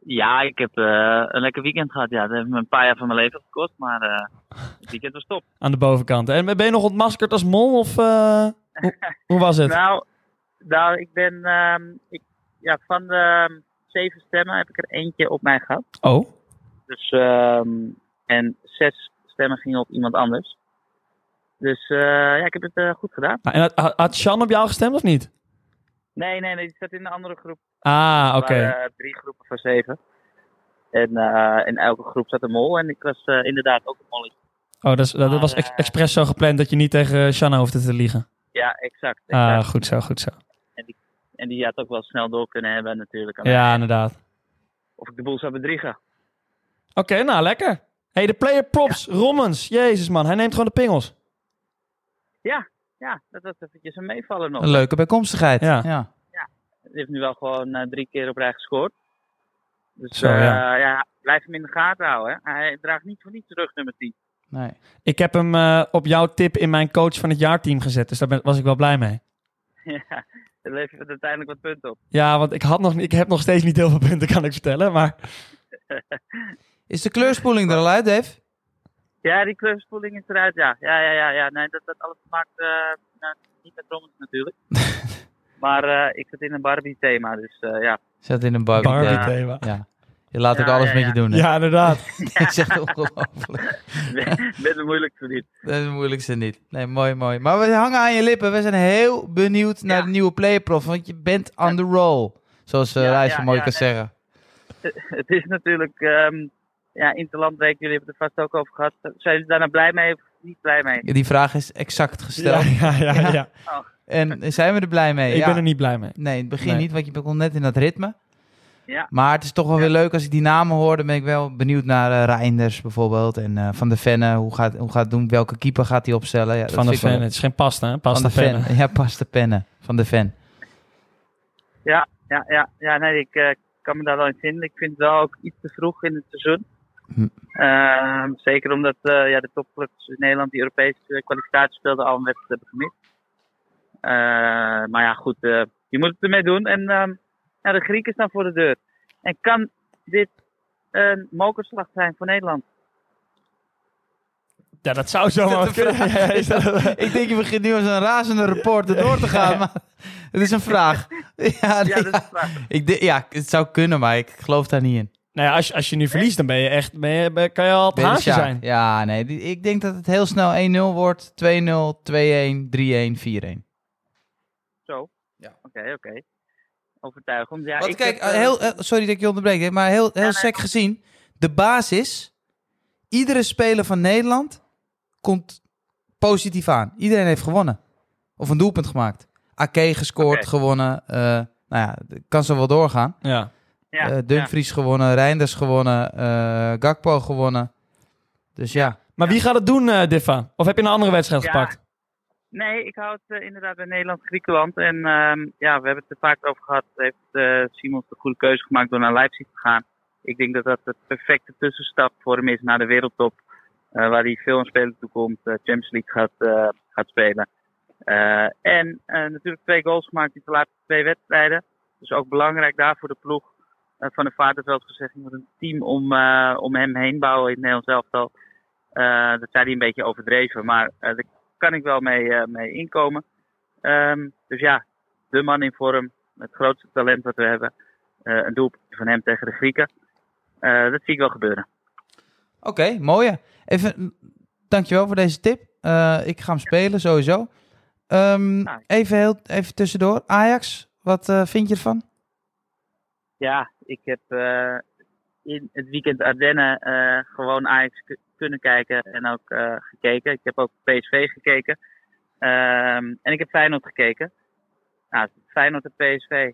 [SPEAKER 6] Ja, ik heb eh, een lekker weekend gehad. Ja, dat heeft me een paar jaar van mijn leven gekost, maar eh, het weekend was top.
[SPEAKER 2] Aan de bovenkant. En ben je nog ontmaskerd als mol of... eh, hoe, hoe was het?
[SPEAKER 6] Nou, nou ik ben ehm, ik, ja, van de ehm, zeven stemmen heb ik er eentje op mij gehad.
[SPEAKER 2] Oh,
[SPEAKER 6] Dus, ehm, en zes stemmen gingen op iemand anders. Dus eh, ja, ik heb het eh, goed gedaan.
[SPEAKER 2] Ah, en had- had, had Sjan op jou gestemd of niet?
[SPEAKER 6] Nee, nee, nee, die zat in een andere groep.
[SPEAKER 2] Ah, oké.
[SPEAKER 6] Er waren, eh, drie groepen van zeven. En eh, in elke groep zat een mol. En ik was eh, inderdaad ook een molletje.
[SPEAKER 2] Oh, dat, is- dat, dat was
[SPEAKER 1] eh,
[SPEAKER 2] ex- expres zo gepland dat je niet tegen Shanna hoefde te liegen.
[SPEAKER 6] Ja, exact. exact.
[SPEAKER 1] eh,
[SPEAKER 2] Ah, goed zo, goed zo.
[SPEAKER 6] En die had ook wel snel door kunnen hebben natuurlijk. Aan
[SPEAKER 2] Ja, inderdaad. Oké,
[SPEAKER 6] Of ik de boel zou bedriegen.
[SPEAKER 2] nou, lekker. hey, de player props, Rommens. Jezus, man. Hij neemt gewoon de pingels.
[SPEAKER 6] Ja, dat was eventjes een meevaller nog.
[SPEAKER 1] Een leuke bijkomstigheid.
[SPEAKER 2] Oh. Ja.
[SPEAKER 1] ja.
[SPEAKER 6] Die heeft nu wel gewoon eh, drie keer op rij gescoord. Dus
[SPEAKER 2] Zo,
[SPEAKER 6] eh,
[SPEAKER 2] ja.
[SPEAKER 6] ja. blijf hem in de gaten houden. hè. Hij draagt niet voor niets terug, nummer 10.
[SPEAKER 1] Nee.
[SPEAKER 2] Ik heb hem eh, op jouw tip in mijn coach van het jaarteam gezet. Dus daar ben- was ik wel blij mee.
[SPEAKER 6] ja, dat levert uiteindelijk wat punten op.
[SPEAKER 2] Ja, want ik, had nog, ik heb nog steeds niet heel veel punten, kan ik vertellen.
[SPEAKER 1] Oh,
[SPEAKER 2] Maar
[SPEAKER 1] Is de kleurspoeling er al uit, Dave?
[SPEAKER 6] Ja, die kleurspoeling is eruit, ja. Ja, ja, ja. ja. Nee, dat, dat alles maakt eh, nou, niet met rommels natuurlijk. maar eh, ik zit in een Barbie-thema, dus eh, ja.
[SPEAKER 1] Zat in een Barbie.
[SPEAKER 2] Barbie
[SPEAKER 1] Ja.
[SPEAKER 2] thema.
[SPEAKER 1] Je laat ook
[SPEAKER 6] Ja,
[SPEAKER 1] alles
[SPEAKER 6] ja,
[SPEAKER 1] met
[SPEAKER 6] ja.
[SPEAKER 1] je doen. Hè?
[SPEAKER 2] Ja, inderdaad.
[SPEAKER 1] Dat is echt ongelooflijk.
[SPEAKER 6] Ik ben er moeilijk voor dit.
[SPEAKER 1] Dat is het moeilijkste niet. Nee, mooi, mooi. Maar we hangen aan je lippen. We zijn heel benieuwd naar
[SPEAKER 6] Ja.
[SPEAKER 1] de nieuwe playerprof. Want je bent on the roll. Zoals uh,
[SPEAKER 6] Ja,
[SPEAKER 1] Rijs
[SPEAKER 6] ja,
[SPEAKER 1] zo mooi
[SPEAKER 6] ja,
[SPEAKER 1] kan
[SPEAKER 6] en-
[SPEAKER 1] zeggen.
[SPEAKER 6] het is natuurlijk ehm ja, interlandweek, jullie hebben het er vast ook over gehad. Zijn jullie daar nou blij mee of niet blij mee?
[SPEAKER 1] Ja, Die vraag is exact
[SPEAKER 2] Ja,
[SPEAKER 1] gesteld.
[SPEAKER 2] ja, ja, ja.
[SPEAKER 1] Ja. En zijn we er blij mee?
[SPEAKER 2] Ik
[SPEAKER 1] ja.
[SPEAKER 2] ben er niet blij mee.
[SPEAKER 1] Nee, in het begin
[SPEAKER 2] Nee.
[SPEAKER 1] niet, want je begon net in dat ritme.
[SPEAKER 6] Ja.
[SPEAKER 1] Maar het is toch wel weer leuk als ik die namen hoor. Dan ben ik wel benieuwd naar eh, Reinders bijvoorbeeld. En eh, Van de Venne. Hoe gaat, hoe gaat het doen? Welke keeper gaat hij opstellen? Ja, dat
[SPEAKER 2] Van de
[SPEAKER 1] vind ik wel
[SPEAKER 2] fan.
[SPEAKER 1] leuk.
[SPEAKER 2] Het is geen pasta, hè? Pasta
[SPEAKER 1] Van de
[SPEAKER 2] fan.
[SPEAKER 1] Ven. Ja, pas de pennen. Van de Ven.
[SPEAKER 6] Ja, ja, ja nee, ik eh, kan me daar wel in vinden. Ik vind het wel ook iets te vroeg in het seizoen.
[SPEAKER 1] Hm.
[SPEAKER 6] Ehm, zeker omdat eh, ja, de topclubs in Nederland die Europese eh, kwalificatie speelden al een wedstrijd hebben gemist. Eh, maar ja, goed, eh, je moet het ermee doen. En ehm, ja, de Grieken staan voor de deur. En kan dit een mokerslag zijn voor Nederland?
[SPEAKER 2] Ja, dat zou zomaar kunnen. Ja, ja, is dat-
[SPEAKER 1] Ik denk, je begint nu als een razende reporter door te gaan, maar het is een vraag. Ja,
[SPEAKER 6] Ja, dat
[SPEAKER 1] ja.
[SPEAKER 6] is waar.
[SPEAKER 1] Ik denk- ja, het zou kunnen, maar ik geloof daar niet in.
[SPEAKER 2] Nou ja, als, je- als je nu verliest, dan ben je echt, ben je, ben- kan je al het
[SPEAKER 1] Ben je de
[SPEAKER 2] haasje
[SPEAKER 1] Sjaak?
[SPEAKER 2] zijn.
[SPEAKER 1] Dus Ja, nee, die- ik denk dat het heel snel 1-0 wordt. 2-0, 2-1, 3-1, 4-1.
[SPEAKER 6] Zo.
[SPEAKER 1] Ja.
[SPEAKER 6] Oké, oké. Overtuigend. Ja,
[SPEAKER 1] Want
[SPEAKER 6] ik
[SPEAKER 1] kijk,
[SPEAKER 6] heb, eh,
[SPEAKER 1] heel, eh, sorry dat ik je onderbreek, hè, maar heel, heel
[SPEAKER 6] nee,
[SPEAKER 1] sec gezien. De basis, iedere speler van Nederland komt positief aan. Iedereen heeft gewonnen. Of een doelpunt gemaakt. Ake gescoord,
[SPEAKER 6] Oké.
[SPEAKER 1] gewonnen. eh, nou ja, het kan zo wel doorgaan.
[SPEAKER 2] Ja.
[SPEAKER 6] ja,
[SPEAKER 1] Eh, Dumfries gewonnen, Reinders gewonnen, eh, Gakpo gewonnen. Dus ja,
[SPEAKER 2] Maar wie gaat het doen, eh Diffa? Of heb je een andere wedstrijd
[SPEAKER 6] Ja.
[SPEAKER 2] gepakt?
[SPEAKER 6] ja. Nee, ik houd het eh, inderdaad bij Nederland-Griekenland. En ehm, ja, we hebben het er vaak over gehad. Heeft eh Simons de goede keuze gemaakt door naar Leipzig te gaan. Ik denk dat dat de perfecte tussenstap voor hem is naar de wereldtop. eh, waar hij veel aan spelen toekomt. eh, Champions League gaat, eh, gaat spelen. Eh, en eh, natuurlijk twee goals gemaakt in de laatste twee wedstrijden. Dus ook belangrijk daar voor de ploeg. Eh, van de Vaderveld gezegd, je moet een team om, eh, om hem heen bouwen in het Nederlands elftal. Eh, dat zei hij een beetje overdreven, maar eh, daar kan ik wel mee, eh, mee inkomen. Ehm, dus ja, de man in vorm, het grootste talent wat we hebben. Eh, een doelpunt van hem tegen de Grieken. Eh, dat zie ik wel gebeuren.
[SPEAKER 1] oké, mooie. Even, mm, dankjewel voor deze tip. Eh, ik ga hem spelen, sowieso. Ehm,
[SPEAKER 6] Nou.
[SPEAKER 1] even, heel, even tussendoor. Ajax, wat eh, vind je ervan?
[SPEAKER 6] Ja, ik heb eh, in het weekend Ardennen eh, gewoon Ajax k- kunnen kijken en ook eh, gekeken. Ik heb ook PSV gekeken. Ehm, en ik heb Feyenoord gekeken. Nou, Feyenoord en PSV.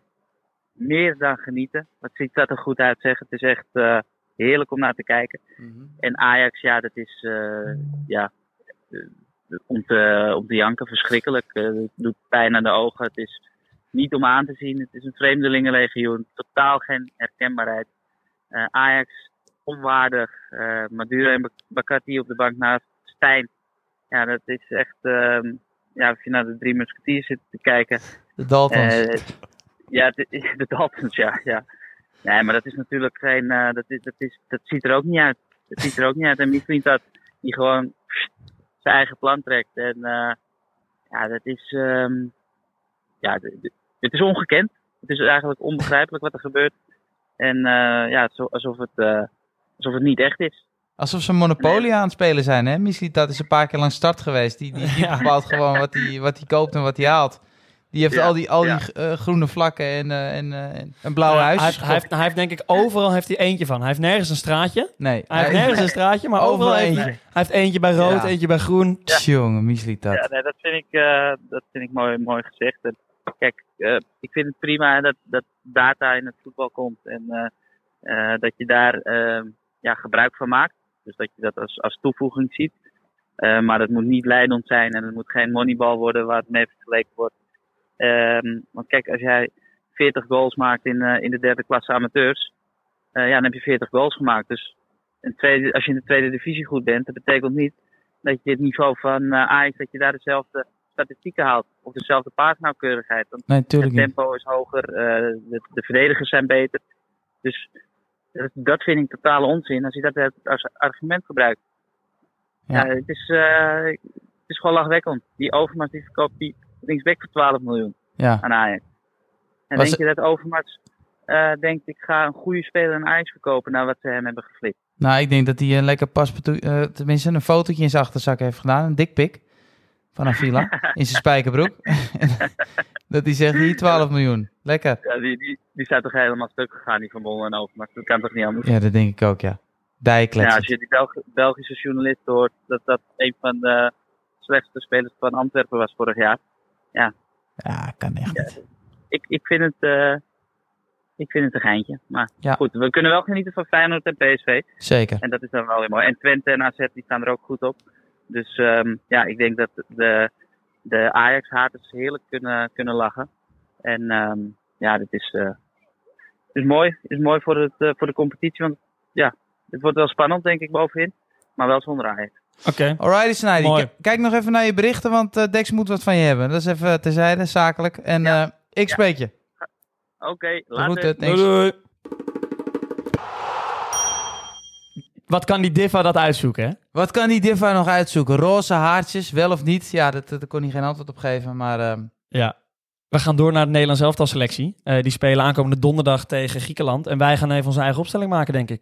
[SPEAKER 6] Meer dan genieten. Wat ziet dat er goed uit zeg. Het is echt eh, heerlijk om naar te kijken.
[SPEAKER 2] Mhm.
[SPEAKER 6] En Ajax, ja, dat is eh, ja, eh, om, te, om te janken verschrikkelijk. Eh, het doet pijn aan de ogen. Het is niet om aan te zien. Het is een vreemdelingenlegioen. Totaal geen herkenbaarheid. Eh, Ajax, onwaardig. Eh Maduro en Bak- Bakati op de bank naast Stijn. Ja, dat is echt... ehm, ja, als je naar de drie musketiers zit te kijken...
[SPEAKER 1] De Daltons.
[SPEAKER 6] Eh, ja, het is- de Daltons, ja, ja. Nee, maar dat is natuurlijk geen... eh, dat, is, dat, is, dat ziet er ook niet uit. Dat ziet er ook niet uit. En wie vindt dat die gewoon zijn eigen plan trekt. En eh, ja, dat is... ehm, ja, d- d- het is ongekend. Het is eigenlijk onbegrijpelijk wat er gebeurt. En eh, ja, het is alsof het, eh, alsof het niet echt is.
[SPEAKER 1] Alsof ze Monopoly aan het spelen zijn, hè? Misschien dat is een paar keer lang start geweest. Die, die, die bepaalt gewoon wat hij wat die koopt en wat hij haalt. Die heeft
[SPEAKER 6] Ja,
[SPEAKER 1] al die, al
[SPEAKER 6] ja.
[SPEAKER 1] die eh, groene vlakken en, eh, en, eh, en een blauwe
[SPEAKER 2] Ja,
[SPEAKER 1] huis.
[SPEAKER 2] hij, heeft, hij, heeft, hij heeft denk ik overal heeft hij eentje van. Hij heeft nergens een straatje.
[SPEAKER 1] nee,
[SPEAKER 2] Hij heeft nergens een straatje, maar
[SPEAKER 1] Overal
[SPEAKER 2] overal, eentje.
[SPEAKER 1] eentje.
[SPEAKER 2] Hij heeft eentje bij rood,
[SPEAKER 1] Ja.
[SPEAKER 2] eentje bij groen.
[SPEAKER 1] Jongen, misliet dat.
[SPEAKER 6] Ja, nee, dat vind ik, eh, dat vind ik mooi, mooi gezegd. En kijk, eh, ik vind het prima dat, dat data in het voetbal komt en eh, eh, dat je daar eh, ja, gebruik van maakt. Dus dat je dat als, als toevoeging ziet. Eh, maar dat moet niet leidend zijn en het moet geen moneyball worden waar het mee vergeleken wordt. Ehm, want kijk, als jij 40 goals maakt in, eh, in de derde klasse amateurs, eh, ja, dan heb je 40 goals gemaakt. Dus een tweede, als je in de tweede divisie goed bent, dat betekent niet dat je het niveau van eh, Ajax, dat je daar dezelfde statistieken haalt. Of dezelfde paasnauwkeurigheid. Want
[SPEAKER 1] Nee, tuurlijk
[SPEAKER 6] het
[SPEAKER 1] niet.
[SPEAKER 6] tempo is hoger, eh, de, de verdedigers zijn beter. Dus dat, dat vind ik totale onzin als je dat als argument gebruikt.
[SPEAKER 1] Ja.
[SPEAKER 6] Ja. het, is, eh, het is gewoon lachwekkend. Die Overmars die verkoopt die linksback voor 12 miljoen
[SPEAKER 1] Ja.
[SPEAKER 6] aan Ajax. En
[SPEAKER 1] Was
[SPEAKER 6] denk je dat Overmars eh, denkt, ik ga een goede speler aan Ajax verkopen na wat ze hem hebben geflikt?
[SPEAKER 1] Nou, ik denk dat hij een lekker paspartout, eh, tenminste een fotootje in zijn achterzak heeft gedaan. Een dikpik van Avila in zijn spijkerbroek. dat hij zegt, hier 12 miljoen. Lekker.
[SPEAKER 6] Ja, die, die, die zijn toch helemaal stuk gegaan, die Van Bommel en Overmars. Dat kan toch niet anders?
[SPEAKER 1] Ja, dat denk ik ook, ja. Dijkletsen.
[SPEAKER 6] Ja, als je die Belg- Belgische journalist hoort dat dat een van de slechtste spelers van Antwerpen was vorig jaar.
[SPEAKER 1] Ja, kan echt niet.
[SPEAKER 6] Ik, ik, vind, het, eh, ik vind het een geintje. Maar
[SPEAKER 1] Ja.
[SPEAKER 6] goed, we kunnen wel genieten van Feyenoord en PSV.
[SPEAKER 1] Zeker.
[SPEAKER 6] En dat is dan wel weer mooi. En Twente en AZ die staan er ook goed op. Dus ehm, ja, ik denk dat de, de Ajax-haters heerlijk kunnen, kunnen lachen. En ehm, ja, dit is, eh, is mooi. is mooi voor, het, eh, voor de competitie. Want ja, het wordt wel spannend denk ik bovenin. Maar wel zonder Ajax.
[SPEAKER 2] Oké.
[SPEAKER 1] Alrighty, Snijdy.
[SPEAKER 2] Mooi.
[SPEAKER 1] K- Kijk nog even naar je berichten, want eh, Dex moet wat van je hebben. Dat is even eh, terzijde, zakelijk. En eh, ik spreek je.
[SPEAKER 6] Oké,
[SPEAKER 1] Tot
[SPEAKER 6] later.
[SPEAKER 1] goed, eh, thanks.
[SPEAKER 2] Doei, doei. Wat kan die Diffa dat uitzoeken, hè?
[SPEAKER 1] Wat kan die Diffa nog uitzoeken? Roze haartjes, wel of niet? Ja, dat, dat daar kon hij geen antwoord op geven, maar... ehm,
[SPEAKER 2] Ja. We gaan door naar de Nederlands elftal selectie. Eh, die spelen aankomende donderdag tegen Griekenland. En wij gaan even onze eigen opstelling maken, denk ik.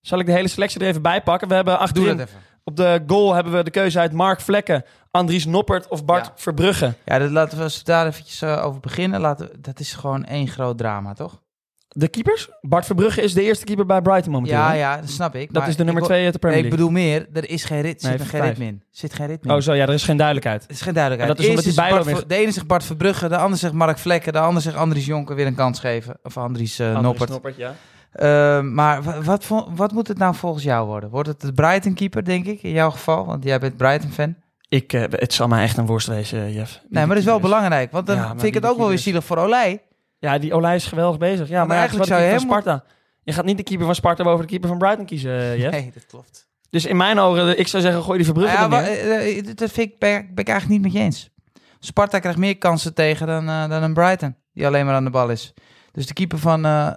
[SPEAKER 2] Zal ik de hele selectie er even bij pakken? We hebben
[SPEAKER 1] doe
[SPEAKER 2] achterin
[SPEAKER 1] dat even.
[SPEAKER 2] op de goal hebben we de keuze uit Mark Vlekken, Andries Noppert of Bart
[SPEAKER 1] Ja.
[SPEAKER 2] Verbrugge.
[SPEAKER 1] Ja, dat laten we, als we daar eventjes eh, over beginnen, laten we- dat is gewoon één groot drama, toch?
[SPEAKER 2] De keepers? Bart Verbrugge is de eerste keeper bij Brighton momenteel.
[SPEAKER 1] Ja,
[SPEAKER 2] hè?
[SPEAKER 1] ja, dat snap ik.
[SPEAKER 2] Dat
[SPEAKER 1] maar
[SPEAKER 2] is de nummer
[SPEAKER 1] ik, wil-
[SPEAKER 2] twee uit de Premier
[SPEAKER 1] Nee, ik
[SPEAKER 2] League.
[SPEAKER 1] bedoel meer, er is geen rit,
[SPEAKER 2] Nee,
[SPEAKER 1] zit er geen
[SPEAKER 2] vijf.
[SPEAKER 1] ritme in. Zit geen ritme in.
[SPEAKER 2] oh, zo ja, er is geen duidelijkheid.
[SPEAKER 1] Er is geen duidelijkheid.
[SPEAKER 2] Maar dat is
[SPEAKER 1] Eerst
[SPEAKER 2] omdat die
[SPEAKER 1] Bart
[SPEAKER 2] Bijlo
[SPEAKER 1] Ver- De ene zegt Bart Verbrugge, de ander zegt Mark Vlekken, de ander zegt Andries Jonker weer een kans geven. Of Andries eh,
[SPEAKER 2] Andries
[SPEAKER 1] Noppert.
[SPEAKER 2] ja.
[SPEAKER 1] Eh, maar wa- wat, vo- wat moet het nou volgens jou worden? Wordt het de Brighton keeper, denk ik, in jouw geval? Want jij bent Brighton fan.
[SPEAKER 2] Ik, eh, het zal mij echt een worst wezen, eh, Jeff. Wie
[SPEAKER 1] Nee, maar
[SPEAKER 2] de
[SPEAKER 1] dat is wel
[SPEAKER 2] keeper
[SPEAKER 1] belangrijk. Want dan
[SPEAKER 2] Ja, maar
[SPEAKER 1] vind ik
[SPEAKER 2] wie
[SPEAKER 1] het
[SPEAKER 2] de
[SPEAKER 1] ook wel weer
[SPEAKER 2] keeper is.
[SPEAKER 1] zielig voor Olij.
[SPEAKER 2] Ja, die Olij is geweldig bezig. Ja, maar,
[SPEAKER 1] eigenlijk
[SPEAKER 2] eigenlijk zou
[SPEAKER 1] zou
[SPEAKER 2] je
[SPEAKER 1] je
[SPEAKER 2] van Sparta. Je gaat niet de keeper van Sparta boven de keeper van Brighton kiezen, eh, Jeff.
[SPEAKER 1] Nee, dat klopt.
[SPEAKER 2] Dus in mijn ogen, eh, ik zou zeggen, gooi die Verbrugge
[SPEAKER 1] ja,
[SPEAKER 2] er neer.
[SPEAKER 1] wa- eh, eh, dat vind ik, ben, ik- ben ik eigenlijk niet met je eens. Sparta krijgt meer kansen tegen dan, eh, dan een Brighton, die alleen maar aan de bal is. Dus de keeper van, eh,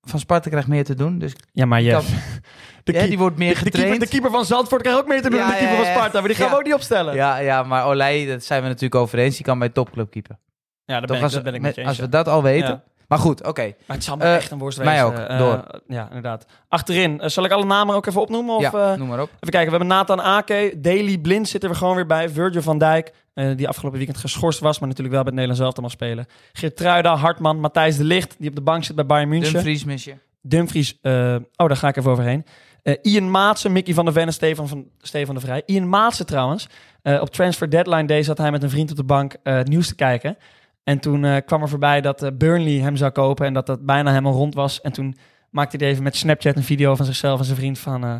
[SPEAKER 1] van Sparta krijgt meer te doen. Dus
[SPEAKER 2] Ja, maar Jeff.
[SPEAKER 1] kan-
[SPEAKER 2] de,
[SPEAKER 1] ja,
[SPEAKER 2] keep-
[SPEAKER 1] die wordt meer
[SPEAKER 2] de, keeper,
[SPEAKER 1] getraind.
[SPEAKER 2] de keeper van Zandvoort krijgt ook mee te doen
[SPEAKER 1] Ja,
[SPEAKER 2] dan de keeper
[SPEAKER 1] ja,
[SPEAKER 2] van
[SPEAKER 1] ja.
[SPEAKER 2] Sparta. Maar die gaan
[SPEAKER 1] Ja.
[SPEAKER 2] we ook niet opstellen.
[SPEAKER 1] ja, ja, maar Olij, dat zijn we natuurlijk over eens. Die kan bij topclub keeper.
[SPEAKER 2] Ja, daar
[SPEAKER 1] Toch als,
[SPEAKER 2] daar
[SPEAKER 1] met-
[SPEAKER 2] je
[SPEAKER 1] als we dat al weten.
[SPEAKER 2] Ja.
[SPEAKER 1] Maar goed, oké.
[SPEAKER 2] Maar het zal me
[SPEAKER 1] Eh,
[SPEAKER 2] echt een worst wezen.
[SPEAKER 1] mij ook.
[SPEAKER 2] eh,
[SPEAKER 1] Door.
[SPEAKER 2] eh, ja, inderdaad. Achterin, eh, zal ik alle namen ook even opnoemen? Of,
[SPEAKER 1] Ja,
[SPEAKER 2] eh,
[SPEAKER 1] noem maar op.
[SPEAKER 2] Even kijken, we hebben Nathan Ake, Daily Blind zitten we gewoon weer bij. Virgil van Dijk, eh, die afgelopen weekend geschorst was, maar natuurlijk wel bij het Nederlands elftal mag spelen. Geertruida, Hartman, Matthijs de Ligt, die op de bank zit bij Bayern München.
[SPEAKER 1] Dumfries mis je.
[SPEAKER 2] Dumfries, eh, oh daar ga ik even overheen. Eh, Ian Maatsen, Mickey van der Ven en Stefan, van, Stefan de Vrij. Ian Maatsen trouwens, eh, op Transfer Deadline Day zat hij met een vriend op de bank eh, het nieuws te kijken. En toen eh, kwam er voorbij dat eh, Burnley hem zou kopen en dat dat bijna helemaal rond was. En toen maakte hij even met Snapchat een video van zichzelf en zijn vriend van... eh,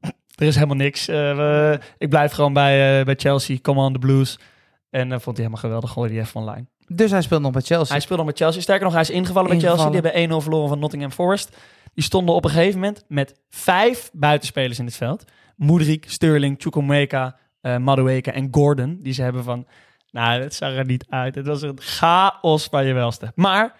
[SPEAKER 2] er is helemaal niks. Eh, we- ik blijf gewoon bij, eh, bij Chelsea. Come on, the Blues. En eh, vond hij helemaal geweldig. Gooide hij even online.
[SPEAKER 1] Dus hij speelt nog bij Chelsea.
[SPEAKER 2] Hij speelde nog met Chelsea. Sterker nog, hij is ingevallen, bij Chelsea.
[SPEAKER 1] Ingevallen.
[SPEAKER 2] Die hebben 1-0 verloren van Nottingham Forest. Die stonden op een gegeven moment met vijf buitenspelers in het veld. Moedrik, Sterling, Chukwumeka, eh Madueke en Gordon. Die ze hebben van... Nou, dat zag er niet uit. Het was een chaos bij je welste. Maar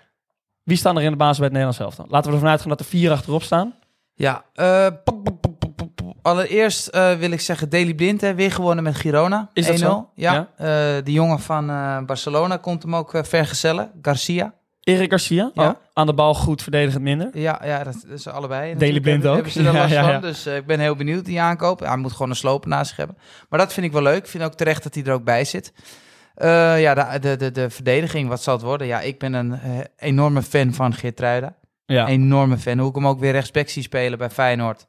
[SPEAKER 2] wie staan er in de basis bij het Nederlands elftal? Laten we ervan uitgaan dat er vier achterop staan.
[SPEAKER 1] Ja, eh, pop, pop, pop, pop, pop, pop. allereerst eh, wil ik zeggen, Deli Blind, hè, weer gewonnen met Girona.
[SPEAKER 2] Is dat
[SPEAKER 1] 1-0.
[SPEAKER 2] zo?
[SPEAKER 1] Ja, Eh, die jongen van eh, Barcelona komt hem ook eh, vergezellen, Garcia.
[SPEAKER 2] Erik Garcia,
[SPEAKER 1] Ja.
[SPEAKER 2] oh, aan de bal goed, verdedigend minder.
[SPEAKER 1] Ja, ja dat, dat is allebei.
[SPEAKER 2] Daley
[SPEAKER 1] Natuurlijk
[SPEAKER 2] Blind
[SPEAKER 1] hebben-
[SPEAKER 2] ook.
[SPEAKER 1] Hebben ze er last
[SPEAKER 2] Ja, ja, ja.
[SPEAKER 1] van, dus eh, ik ben heel benieuwd die aankoop. Hij moet gewoon een sloop naast zich hebben. Maar dat vind ik wel leuk. Ik vind ook terecht dat hij er ook bij zit. Eh, ja, de, de, de, de verdediging, wat zal het worden? Ja, ik ben een eh, enorme fan van Geertruida.
[SPEAKER 2] Ja.
[SPEAKER 1] Enorme fan. Hoe ik hem ook weer rechtsback zie spelen bij Feyenoord.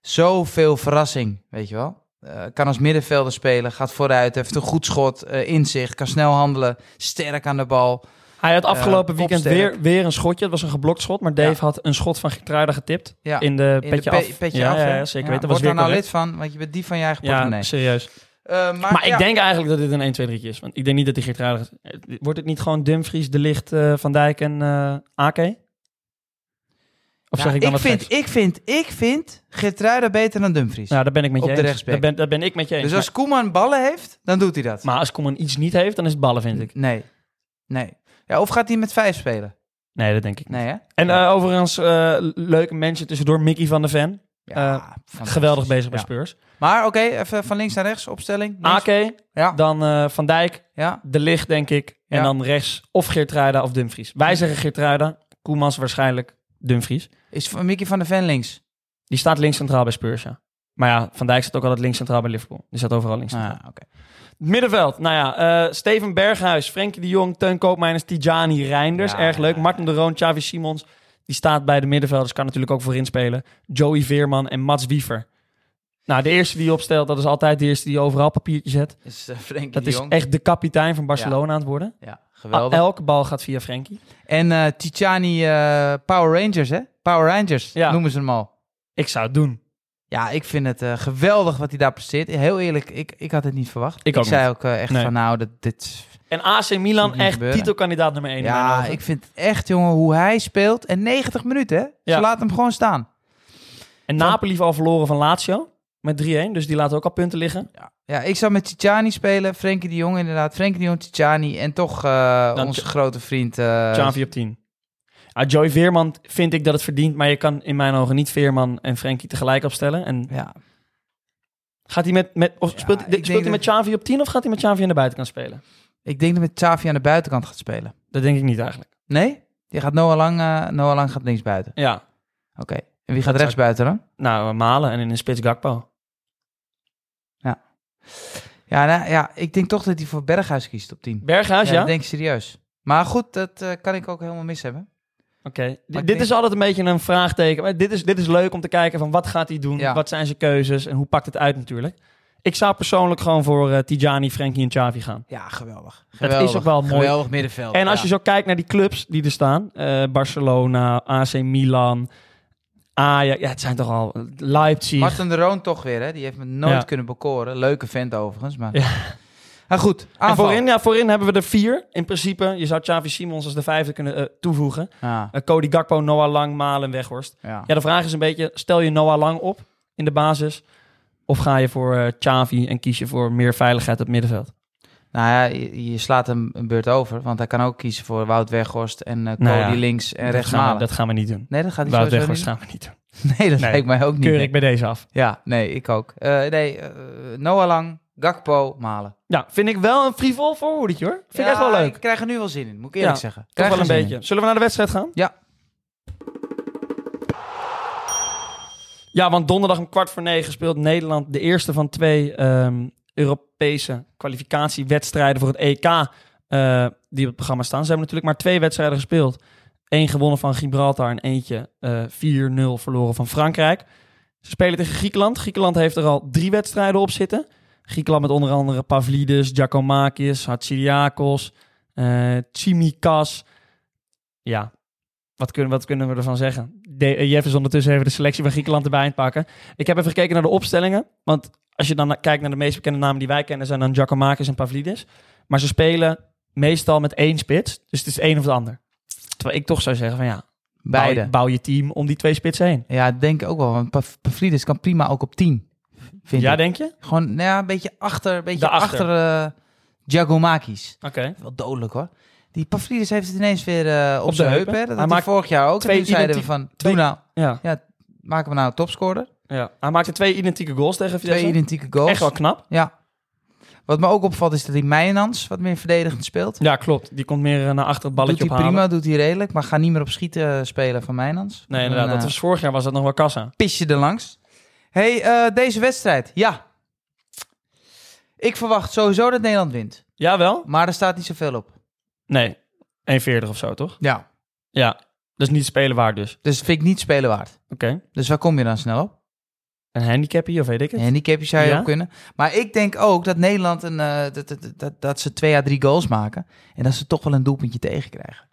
[SPEAKER 1] Zoveel verrassing, weet je wel. Eh, kan als middenvelder spelen, gaat vooruit, heeft een goed schot, eh, inzicht, kan snel handelen, sterk aan de bal.
[SPEAKER 2] Hij had afgelopen
[SPEAKER 1] Eh,
[SPEAKER 2] weekend
[SPEAKER 1] kopsterk.
[SPEAKER 2] weer, weer een schotje. Het was een geblokt schot, maar Dave
[SPEAKER 1] Ja.
[SPEAKER 2] had een schot van Gertruida getipt.
[SPEAKER 1] Ja,
[SPEAKER 2] In de
[SPEAKER 1] In
[SPEAKER 2] petje
[SPEAKER 1] de pe-
[SPEAKER 2] af.
[SPEAKER 1] petje
[SPEAKER 2] ja,
[SPEAKER 1] af,
[SPEAKER 2] ja,
[SPEAKER 1] hè?
[SPEAKER 2] ja, zeker
[SPEAKER 1] Ja,
[SPEAKER 2] weten.
[SPEAKER 1] Word
[SPEAKER 2] was weer
[SPEAKER 1] daar nou
[SPEAKER 2] correct.
[SPEAKER 1] lid van, want je bent die van je eigen
[SPEAKER 2] Ja,
[SPEAKER 1] portemonnee.
[SPEAKER 2] serieus.
[SPEAKER 1] Eh, maar
[SPEAKER 2] Maar
[SPEAKER 1] ja,
[SPEAKER 2] ik denk eigenlijk dat dit een 1, 2, 3 is. Want ik denk niet dat die Gertruida... Wordt het niet gewoon Dumfries, De Licht, eh, Van Dijk en eh Ake? Of
[SPEAKER 1] ja,
[SPEAKER 2] zeg ik dan wat
[SPEAKER 1] vind,
[SPEAKER 2] geks?
[SPEAKER 1] Ik vind, ik vind Geertruida beter dan Dumfries.
[SPEAKER 2] Ja, Nou, daar ben ik met je
[SPEAKER 1] op de
[SPEAKER 2] eens.
[SPEAKER 1] rechtsback.
[SPEAKER 2] Daar ben, daar ben ik met je eens.
[SPEAKER 1] dus als Koeman ballen heeft, dan doet hij dat.
[SPEAKER 2] maar, maar als Koeman iets niet heeft, dan is het ballen, vind ik.
[SPEAKER 1] Nee. Nee. Ja, of gaat hij met vijf spelen?
[SPEAKER 2] Nee, dat denk ik niet.
[SPEAKER 1] Nee, hè?
[SPEAKER 2] En
[SPEAKER 1] Ja.
[SPEAKER 2] eh, overigens, eh, leuke mensen tussendoor. Mickey van de Ven. eh,
[SPEAKER 1] fantastisch.
[SPEAKER 2] Geweldig bezig bij
[SPEAKER 1] Ja.
[SPEAKER 2] Spurs.
[SPEAKER 1] Maar oké, even van links naar rechts, opstelling. Links.
[SPEAKER 2] Ake,
[SPEAKER 1] Ja.
[SPEAKER 2] dan eh, Van Dijk,
[SPEAKER 1] Ja.
[SPEAKER 2] De Ligt, denk ik. En
[SPEAKER 1] Ja.
[SPEAKER 2] dan rechts of Geertruida of Dumfries. Wij zeggen Geertruida, Koemans waarschijnlijk Dumfries.
[SPEAKER 1] Is van Mickey van der Ven links?
[SPEAKER 2] Die staat links centraal bij Spurs, ja. Maar ja, Van Dijk staat ook altijd links centraal bij Liverpool. Die staat overal links centraal.
[SPEAKER 1] Ah, oké.
[SPEAKER 2] Middenveld, nou ja, eh, Steven Berghuis, Frenkie de Jong, Teun Koopmeiners, Tijani Reinders.
[SPEAKER 1] Ja,
[SPEAKER 2] Erg leuk.
[SPEAKER 1] ja,
[SPEAKER 2] Martin de Roon, Xavi Simons. Die staat bij de middenvelders, kan natuurlijk ook voorin spelen. Joey Veerman en Mats Wiever. Nou, de eerste die je opstelt, dat is altijd de eerste die je overal papiertje zet.
[SPEAKER 1] Is eh, Frenkie
[SPEAKER 2] Dat
[SPEAKER 1] de
[SPEAKER 2] is
[SPEAKER 1] Jong.
[SPEAKER 2] echt de kapitein van Barcelona aan het worden.
[SPEAKER 1] Ja, geweldig.
[SPEAKER 2] Elke bal gaat via Frenkie.
[SPEAKER 1] en eh Titiani eh, Power Rangers, hè? Power Rangers
[SPEAKER 2] Ja.
[SPEAKER 1] noemen ze hem al.
[SPEAKER 2] Ik zou het doen.
[SPEAKER 1] Ja, ik vind het eh, geweldig wat hij daar presteert. Heel eerlijk, ik, ik had het niet verwacht.
[SPEAKER 2] Ik ook
[SPEAKER 1] zei ook eh, echt
[SPEAKER 2] Nee.
[SPEAKER 1] van, nou, dit... dit
[SPEAKER 2] En AC Milan,
[SPEAKER 1] Zie ik niet
[SPEAKER 2] echt
[SPEAKER 1] gebeuren.
[SPEAKER 2] titelkandidaat nummer 1.
[SPEAKER 1] ja, ik vind het echt, jongen, hoe hij speelt. En 90 minuten, hè?
[SPEAKER 2] Ja.
[SPEAKER 1] Ze laten hem gewoon staan.
[SPEAKER 2] En Napoli heeft al verloren van Lazio met 3-1. Dus die laten ook al punten liggen.
[SPEAKER 1] Ja, ik zou met Titiani spelen. Frenkie de Jong inderdaad. Frenkie de Jong, Titiani. En toch eh,
[SPEAKER 2] Dan
[SPEAKER 1] onze
[SPEAKER 2] Ch-
[SPEAKER 1] grote vriend... eh,
[SPEAKER 2] Xavi op 10. Ja, Joey Veerman vind ik dat het verdient. Maar je kan in mijn ogen niet Veerman en Frenkie tegelijk opstellen. En
[SPEAKER 1] ja,
[SPEAKER 2] gaat hij met, met of
[SPEAKER 1] Ja,
[SPEAKER 2] speelt, hij-
[SPEAKER 1] ik denk
[SPEAKER 2] speelt hij
[SPEAKER 1] dat-
[SPEAKER 2] met Xavi op 10 of gaat hij met Xavi aan de buitenkant spelen?
[SPEAKER 1] ik denk dat met Xavi aan de buitenkant gaat spelen.
[SPEAKER 2] Dat denk ik niet eigenlijk.
[SPEAKER 1] Nee? Die gaat Noah Lang, eh, Noah Lang gaat links buiten.
[SPEAKER 2] Ja,
[SPEAKER 1] Oké. En wie gaat
[SPEAKER 2] Dat
[SPEAKER 1] rechts buiten dan?
[SPEAKER 2] nou, Malen en in de spits Gakpo.
[SPEAKER 1] Ja, nou, ja, ik denk toch dat hij voor Berghuis kiest op 10.
[SPEAKER 2] Berghuis,
[SPEAKER 1] Ja,
[SPEAKER 2] ja?
[SPEAKER 1] dat denk ik serieus. Maar goed, dat eh, kan ik ook helemaal mis hebben.
[SPEAKER 2] Oké, D-
[SPEAKER 1] ik
[SPEAKER 2] dit
[SPEAKER 1] denk-
[SPEAKER 2] is altijd een beetje een vraagteken. Maar dit is, dit is leuk om te kijken van wat gaat hij doen?
[SPEAKER 1] Ja.
[SPEAKER 2] Wat zijn zijn keuzes en hoe pakt het uit natuurlijk? Ik zou persoonlijk gewoon voor eh Tijani, Frenkie en Xavi gaan.
[SPEAKER 1] Ja, geweldig.
[SPEAKER 2] is ook wel mooi.
[SPEAKER 1] Geweldig middenveld.
[SPEAKER 2] En als
[SPEAKER 1] Oh, ja.
[SPEAKER 2] je zo kijkt naar die clubs die er staan. eh, Barcelona, AC Milan, Ajax. Ja, het zijn toch al Leipzig.
[SPEAKER 1] Martin de Roon toch weer, hè? Die heeft me nooit
[SPEAKER 2] Ja.
[SPEAKER 1] kunnen bekoren. Leuke vent overigens, maar...
[SPEAKER 2] Ja.
[SPEAKER 1] Maar goed,
[SPEAKER 2] en
[SPEAKER 1] aanval.
[SPEAKER 2] voorin, ja, voorin hebben we er vier. In principe, je zou Xavi Simons als de vijfde kunnen eh, toevoegen.
[SPEAKER 1] Ja,
[SPEAKER 2] Eh, Cody Gakpo, Noah Lang, Malen, Weghorst.
[SPEAKER 1] Ah, ja.
[SPEAKER 2] Ja, de vraag is een beetje, stel je Noah Lang op in de basis? Of ga je voor eh Xavi en kies je voor meer veiligheid op het middenveld?
[SPEAKER 1] Nou ja, je, je slaat hem een beurt over. Want hij kan ook kiezen voor Wout Weghorst en eh Cody
[SPEAKER 2] Nou ja,
[SPEAKER 1] links en
[SPEAKER 2] Dat
[SPEAKER 1] rechts
[SPEAKER 2] gaan we-
[SPEAKER 1] Malen.
[SPEAKER 2] Dat gaan we niet doen.
[SPEAKER 1] Nee, dat gaat hij
[SPEAKER 2] Wout
[SPEAKER 1] sowieso
[SPEAKER 2] Weghorst
[SPEAKER 1] niet
[SPEAKER 2] gaan we niet doen.
[SPEAKER 1] doen. Nee, dat
[SPEAKER 2] Nee.
[SPEAKER 1] lijkt mij ook niet.
[SPEAKER 2] Keur
[SPEAKER 1] nee.
[SPEAKER 2] ik bij deze af.
[SPEAKER 1] Ja, nee, ik ook. Eh, nee, eh, Noah Lang, Gakpo, Malen.
[SPEAKER 2] Ja, vind ik wel een frivol voorhoedetje hoor. Vind ik
[SPEAKER 1] Ja,
[SPEAKER 2] echt wel leuk.
[SPEAKER 1] Ik krijg er nu wel zin in, moet ik eerlijk
[SPEAKER 2] Ja,
[SPEAKER 1] zeggen. Ik
[SPEAKER 2] Toch
[SPEAKER 1] krijg
[SPEAKER 2] wel een
[SPEAKER 1] er zin
[SPEAKER 2] beetje. Zullen we naar de wedstrijd gaan?
[SPEAKER 1] Ja.
[SPEAKER 2] Ja, want donderdag om kwart voor negen speelt Nederland de eerste van twee ehm, Europese kwalificatiewedstrijden voor het EK eh, die op het programma staan. Ze hebben natuurlijk maar twee wedstrijden gespeeld. Eén gewonnen van Gibraltar en eentje eh, 4-0 verloren van Frankrijk. Ze spelen tegen Griekenland. Griekenland heeft er al drie wedstrijden op zitten. Griekenland met onder andere Pavlidis, Giacomakis, Hatsiriakos, eh Tsimikas. Ja, wat kunnen, wat kunnen we ervan zeggen? De, eh, Jeff is ondertussen even de selectie van Griekenland erbij aan het pakken. Ik heb even gekeken naar de opstellingen. Want als je dan na- kijkt naar de meest bekende namen die wij kennen, zijn dan Giacomakis en Pavlidis. Maar ze spelen meestal met één spits. Dus het is het een of het ander. Terwijl ik toch zou zeggen van ja, bouw je,
[SPEAKER 1] Beide.
[SPEAKER 2] bouw je team om die twee spitsen heen.
[SPEAKER 1] Ja, denk ik ook wel. Want Pav- Pavlidis kan prima ook op 10. Vind
[SPEAKER 2] ja,
[SPEAKER 1] ik.
[SPEAKER 2] denk je? Oké.
[SPEAKER 1] Gewoon nou ja, een beetje achter, een beetje
[SPEAKER 2] Daarachter.
[SPEAKER 1] achter eh Giacomakis. Wel dodelijk hoor. Die Pavlidis heeft het ineens weer eh, op,
[SPEAKER 2] Op de
[SPEAKER 1] zijn heupen.
[SPEAKER 2] heupen.
[SPEAKER 1] hè. Dat
[SPEAKER 2] Hij
[SPEAKER 1] had hij
[SPEAKER 2] maakt
[SPEAKER 1] vorig jaar ook. En
[SPEAKER 2] twee
[SPEAKER 1] toen zeiden we
[SPEAKER 2] identiek-
[SPEAKER 1] van,
[SPEAKER 2] twee-
[SPEAKER 1] doe nou,
[SPEAKER 2] Ja.
[SPEAKER 1] maken we nou een topscorer.
[SPEAKER 2] ja. Hij maakte twee identieke goals tegen
[SPEAKER 1] Twee
[SPEAKER 2] Vitesse.
[SPEAKER 1] identieke goals.
[SPEAKER 2] Echt wel knap.
[SPEAKER 1] Ja. Wat me ook opvalt is dat die Meijnans wat meer verdedigend speelt.
[SPEAKER 2] Ja, klopt. Die komt meer eh, naar achter het balletje
[SPEAKER 1] doet hij
[SPEAKER 2] ophalen.
[SPEAKER 1] prima, doet hij redelijk. Maar ga niet meer op schieten eh, spelen van Meijnans.
[SPEAKER 2] Nee,
[SPEAKER 1] Dan,
[SPEAKER 2] inderdaad.
[SPEAKER 1] eh,
[SPEAKER 2] Dat was, vorig jaar was dat nog wel kassa.
[SPEAKER 1] pis je er langs. hey, eh, deze wedstrijd. Ja. Ik verwacht sowieso dat Nederland wint.
[SPEAKER 2] Jawel?
[SPEAKER 1] Maar er staat niet zoveel op.
[SPEAKER 2] Nee. 1,40 of zo, toch?
[SPEAKER 1] Ja.
[SPEAKER 2] Ja. Dus niet spelen waard dus. Oké.
[SPEAKER 1] Dus vind ik niet spelen waard. Dus waar kom je dan snel op?
[SPEAKER 2] Een handicap hier, of weet ik het?
[SPEAKER 1] Handicapje zou je
[SPEAKER 2] Ja.
[SPEAKER 1] ook kunnen. Maar ik denk ook dat Nederland een, eh, dat, dat, dat, dat ze twee à drie goals maken. En dat ze toch wel een doelpuntje tegenkrijgen.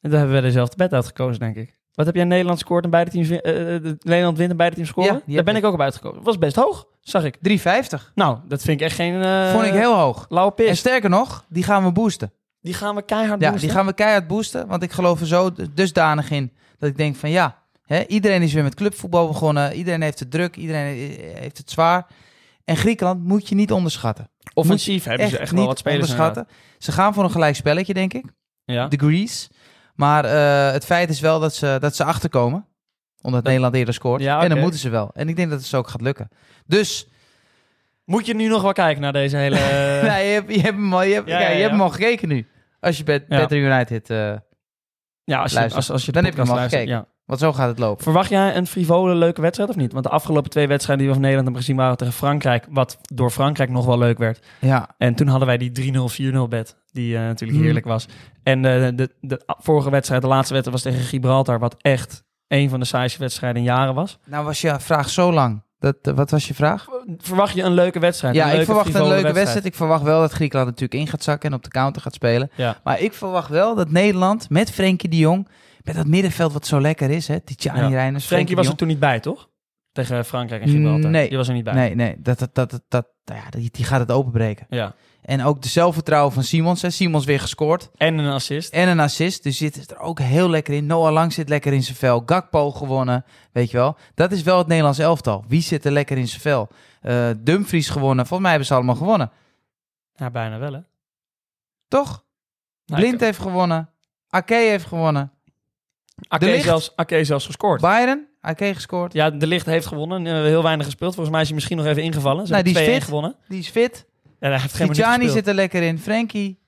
[SPEAKER 2] En Daar hebben we dezelfde bed uitgekozen, denk ik. Wat heb jij Nederland scoort en beide teams win- eh, eh, Nederland wint en beide teams scoren?
[SPEAKER 1] Ja, die
[SPEAKER 2] Daar
[SPEAKER 1] heb
[SPEAKER 2] ben
[SPEAKER 1] ik.
[SPEAKER 2] ik ook op uitgekomen. Was best hoog, zag ik.
[SPEAKER 1] 3,50.
[SPEAKER 2] Nou, dat vind ik echt geen eh,
[SPEAKER 1] Vond ik heel hoog.
[SPEAKER 2] lauwe pis.
[SPEAKER 1] En sterker nog, die gaan we boosten.
[SPEAKER 2] Die gaan we keihard
[SPEAKER 1] Ja,
[SPEAKER 2] boosten.
[SPEAKER 1] die gaan we keihard boosten. Want ik geloof er zo dusdanig in dat ik denk van ja, hè, iedereen is weer met clubvoetbal begonnen. Iedereen heeft het druk, iedereen eh, heeft het zwaar. En Griekenland moet je niet onderschatten.
[SPEAKER 2] Offensief hebben ze echt wel
[SPEAKER 1] niet
[SPEAKER 2] wat spelers
[SPEAKER 1] onderschatten. Ze gaan voor een gelijk spelletje, denk ik.
[SPEAKER 2] inderdaad. Ja.
[SPEAKER 1] Degrees. Maar eh, het feit is wel dat ze, dat ze achterkomen. Omdat Nederland eerder scoort.
[SPEAKER 2] Ja,
[SPEAKER 1] En dan
[SPEAKER 2] oké.
[SPEAKER 1] moeten ze wel. En ik denk dat het ze ook gaat lukken. Dus
[SPEAKER 2] Moet je nu nog wel kijken naar deze hele...
[SPEAKER 1] nou, je, hebt, je hebt hem al, je hebt,
[SPEAKER 2] Eh. Ja,
[SPEAKER 1] kijk,
[SPEAKER 2] ja,
[SPEAKER 1] je hebt
[SPEAKER 2] ja.
[SPEAKER 1] hem al gekeken nu. Als je Bet,
[SPEAKER 2] Ja.
[SPEAKER 1] Better United... eh,
[SPEAKER 2] ja, als je,
[SPEAKER 1] Luister,
[SPEAKER 2] als, als je de
[SPEAKER 1] dan heb je
[SPEAKER 2] podcast
[SPEAKER 1] hem al
[SPEAKER 2] luistert,
[SPEAKER 1] gekeken.
[SPEAKER 2] ja.
[SPEAKER 1] want zo gaat het lopen.
[SPEAKER 2] Verwacht jij een frivole leuke wedstrijd of niet? Want de afgelopen twee wedstrijden die we van Nederland hebben gezien waren tegen Frankrijk. Wat door Frankrijk nog wel leuk werd.
[SPEAKER 1] Ja,
[SPEAKER 2] En toen hadden wij die 3-0, 4-0 bed. Die eh, natuurlijk
[SPEAKER 1] Hmm.
[SPEAKER 2] heerlijk was. En eh, de, de vorige wedstrijd, de laatste wedstrijd was tegen Gibraltar. Wat echt een van de saaiste wedstrijden in jaren was.
[SPEAKER 1] Nou was je vraag zo lang. Dat, eh, wat was je vraag?
[SPEAKER 2] Verwacht je een leuke wedstrijd?
[SPEAKER 1] ja,
[SPEAKER 2] Een leuke
[SPEAKER 1] ik verwacht een
[SPEAKER 2] frivole
[SPEAKER 1] leuke wedstrijd. Ik verwacht wel dat Griekenland natuurlijk in gaat zakken en op de counter gaat spelen.
[SPEAKER 2] Ja.
[SPEAKER 1] Maar ik verwacht wel dat Nederland met Frenkie de Jong, met dat middenveld wat zo lekker is, hè, Titiani
[SPEAKER 2] Ja.
[SPEAKER 1] Reiners,
[SPEAKER 2] Frenkie was
[SPEAKER 1] de
[SPEAKER 2] er
[SPEAKER 1] Mm,
[SPEAKER 2] toen niet bij, toch? Tegen Frankrijk en Gibraltar.
[SPEAKER 1] Nee.
[SPEAKER 2] Die was er niet bij.
[SPEAKER 1] Jong. Nee, nee, dat, dat, dat, dat, dat- nou ja, die, die gaat het openbreken.
[SPEAKER 2] Ja.
[SPEAKER 1] En ook de zelfvertrouwen van Simons. Hè. Simons weer gescoord
[SPEAKER 2] En een assist.
[SPEAKER 1] en een assist, dus zit het er ook heel lekker in. Noah Lang zit lekker in zijn vel, Gakpo gewonnen, weet je wel. Dat is wel het Nederlands elftal. Wie zit er lekker in zijn vel? Eh, Dumfries gewonnen, volgens mij hebben ze allemaal gewonnen.
[SPEAKER 2] Ja, bijna wel, hè?
[SPEAKER 1] Toch?
[SPEAKER 2] Nou,
[SPEAKER 1] Blind
[SPEAKER 2] ik-
[SPEAKER 1] heeft gewonnen. Ake heeft gewonnen.
[SPEAKER 2] Ake
[SPEAKER 1] De Ligt.
[SPEAKER 2] zelfs, Ake zelfs gescoord.
[SPEAKER 1] Bayern, Ake gescoord.
[SPEAKER 2] Ja, De Licht heeft gewonnen. eh, Heel weinig gespeeld. Volgens mij is hij misschien nog even ingevallen. Ze
[SPEAKER 1] Nou,
[SPEAKER 2] hebben
[SPEAKER 1] die is
[SPEAKER 2] 2-1
[SPEAKER 1] fit.
[SPEAKER 2] gewonnen.
[SPEAKER 1] Die is fit.
[SPEAKER 2] Ja, hij heeft geen minuut
[SPEAKER 1] Tijani
[SPEAKER 2] gespeeld.
[SPEAKER 1] zit er lekker in. Frenkie.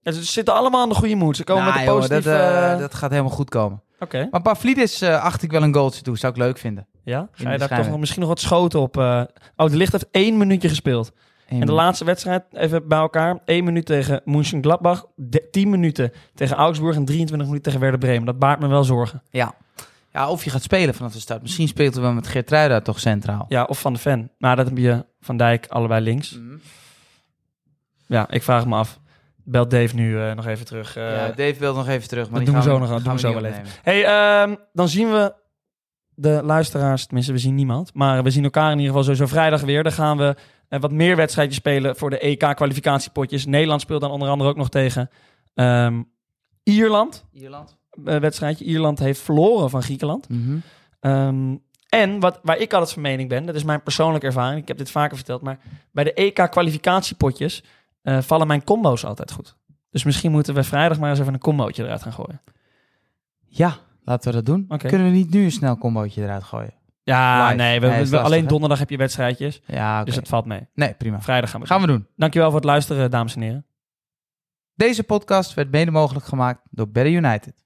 [SPEAKER 2] Ja, ze zitten allemaal aan de goede moed. Ze komen
[SPEAKER 1] Nou,
[SPEAKER 2] met een
[SPEAKER 1] joh,
[SPEAKER 2] positieve...
[SPEAKER 1] dat, eh,
[SPEAKER 2] eh,
[SPEAKER 1] dat gaat helemaal goed komen.
[SPEAKER 2] Oké,
[SPEAKER 1] Maar Pavlidis eh, acht ik wel een goaltje toe. Zou ik leuk vinden.
[SPEAKER 2] ja. Ga je
[SPEAKER 1] de
[SPEAKER 2] daar toch
[SPEAKER 1] schijnen.
[SPEAKER 2] nog misschien nog wat schoten op... eh, Oh, de Licht heeft één minuutje gespeeld.
[SPEAKER 1] Ehm,
[SPEAKER 2] En de laatste wedstrijd, even bij elkaar. 1 minuut tegen Mönchengladbach. de- 10 minuten tegen Augsburg. En 23 minuten tegen Werder Bremen. Dat baart me wel zorgen.
[SPEAKER 1] Ja. ja, of je gaat spelen vanaf de start. Misschien speelt er wel met Geert toch centraal.
[SPEAKER 2] Ja, of Van de Ven. Maar dat heb je Van Dijk allebei links. Ja, ik vraag me af. Belt Dave nu eh, nog even terug. eh.
[SPEAKER 1] Ja, Dave wil nog even terug. Maar
[SPEAKER 2] dat
[SPEAKER 1] die
[SPEAKER 2] doen we
[SPEAKER 1] gaan
[SPEAKER 2] zo nog aan,
[SPEAKER 1] gaan
[SPEAKER 2] doen we
[SPEAKER 1] we
[SPEAKER 2] zo
[SPEAKER 1] niet
[SPEAKER 2] wel
[SPEAKER 1] opnemen.
[SPEAKER 2] hey, ehm, dan zien we de luisteraars. Tenminste, we zien niemand. Maar we zien elkaar in ieder geval sowieso vrijdag weer. Dan gaan we eh, wat meer wedstrijdjes spelen voor de EK-kwalificatiepotjes. Nederland speelt dan onder andere ook nog tegen ehm, Ierland.
[SPEAKER 1] Ierland.
[SPEAKER 2] Eh, wedstrijdje. Ierland heeft verloren van Griekenland.
[SPEAKER 1] Mhm.
[SPEAKER 2] Ehm, en wat, waar ik altijd van mening ben, dat is mijn persoonlijke ervaring, ik heb dit vaker verteld, maar bij de EK-kwalificatiepotjes eh, vallen mijn combo's altijd goed. Dus misschien moeten we vrijdag maar eens even een combootje eruit gaan gooien.
[SPEAKER 1] Ja, laten we dat doen.
[SPEAKER 2] Oké.
[SPEAKER 1] Kunnen we niet nu een snel combootje eruit gooien?
[SPEAKER 2] Ja,
[SPEAKER 1] Live.
[SPEAKER 2] nee, we,
[SPEAKER 1] Nee,
[SPEAKER 2] we-
[SPEAKER 1] is
[SPEAKER 2] we-
[SPEAKER 1] lastig,
[SPEAKER 2] alleen
[SPEAKER 1] hè?
[SPEAKER 2] donderdag heb je wedstrijdjes,
[SPEAKER 1] Ja, oké.
[SPEAKER 2] dus het valt mee.
[SPEAKER 1] Nee, prima.
[SPEAKER 2] Vrijdag gaan we.
[SPEAKER 1] Gaan we doen.
[SPEAKER 2] Dankjewel voor het luisteren, dames en heren.
[SPEAKER 1] Deze podcast werd mede mogelijk gemaakt door Better United.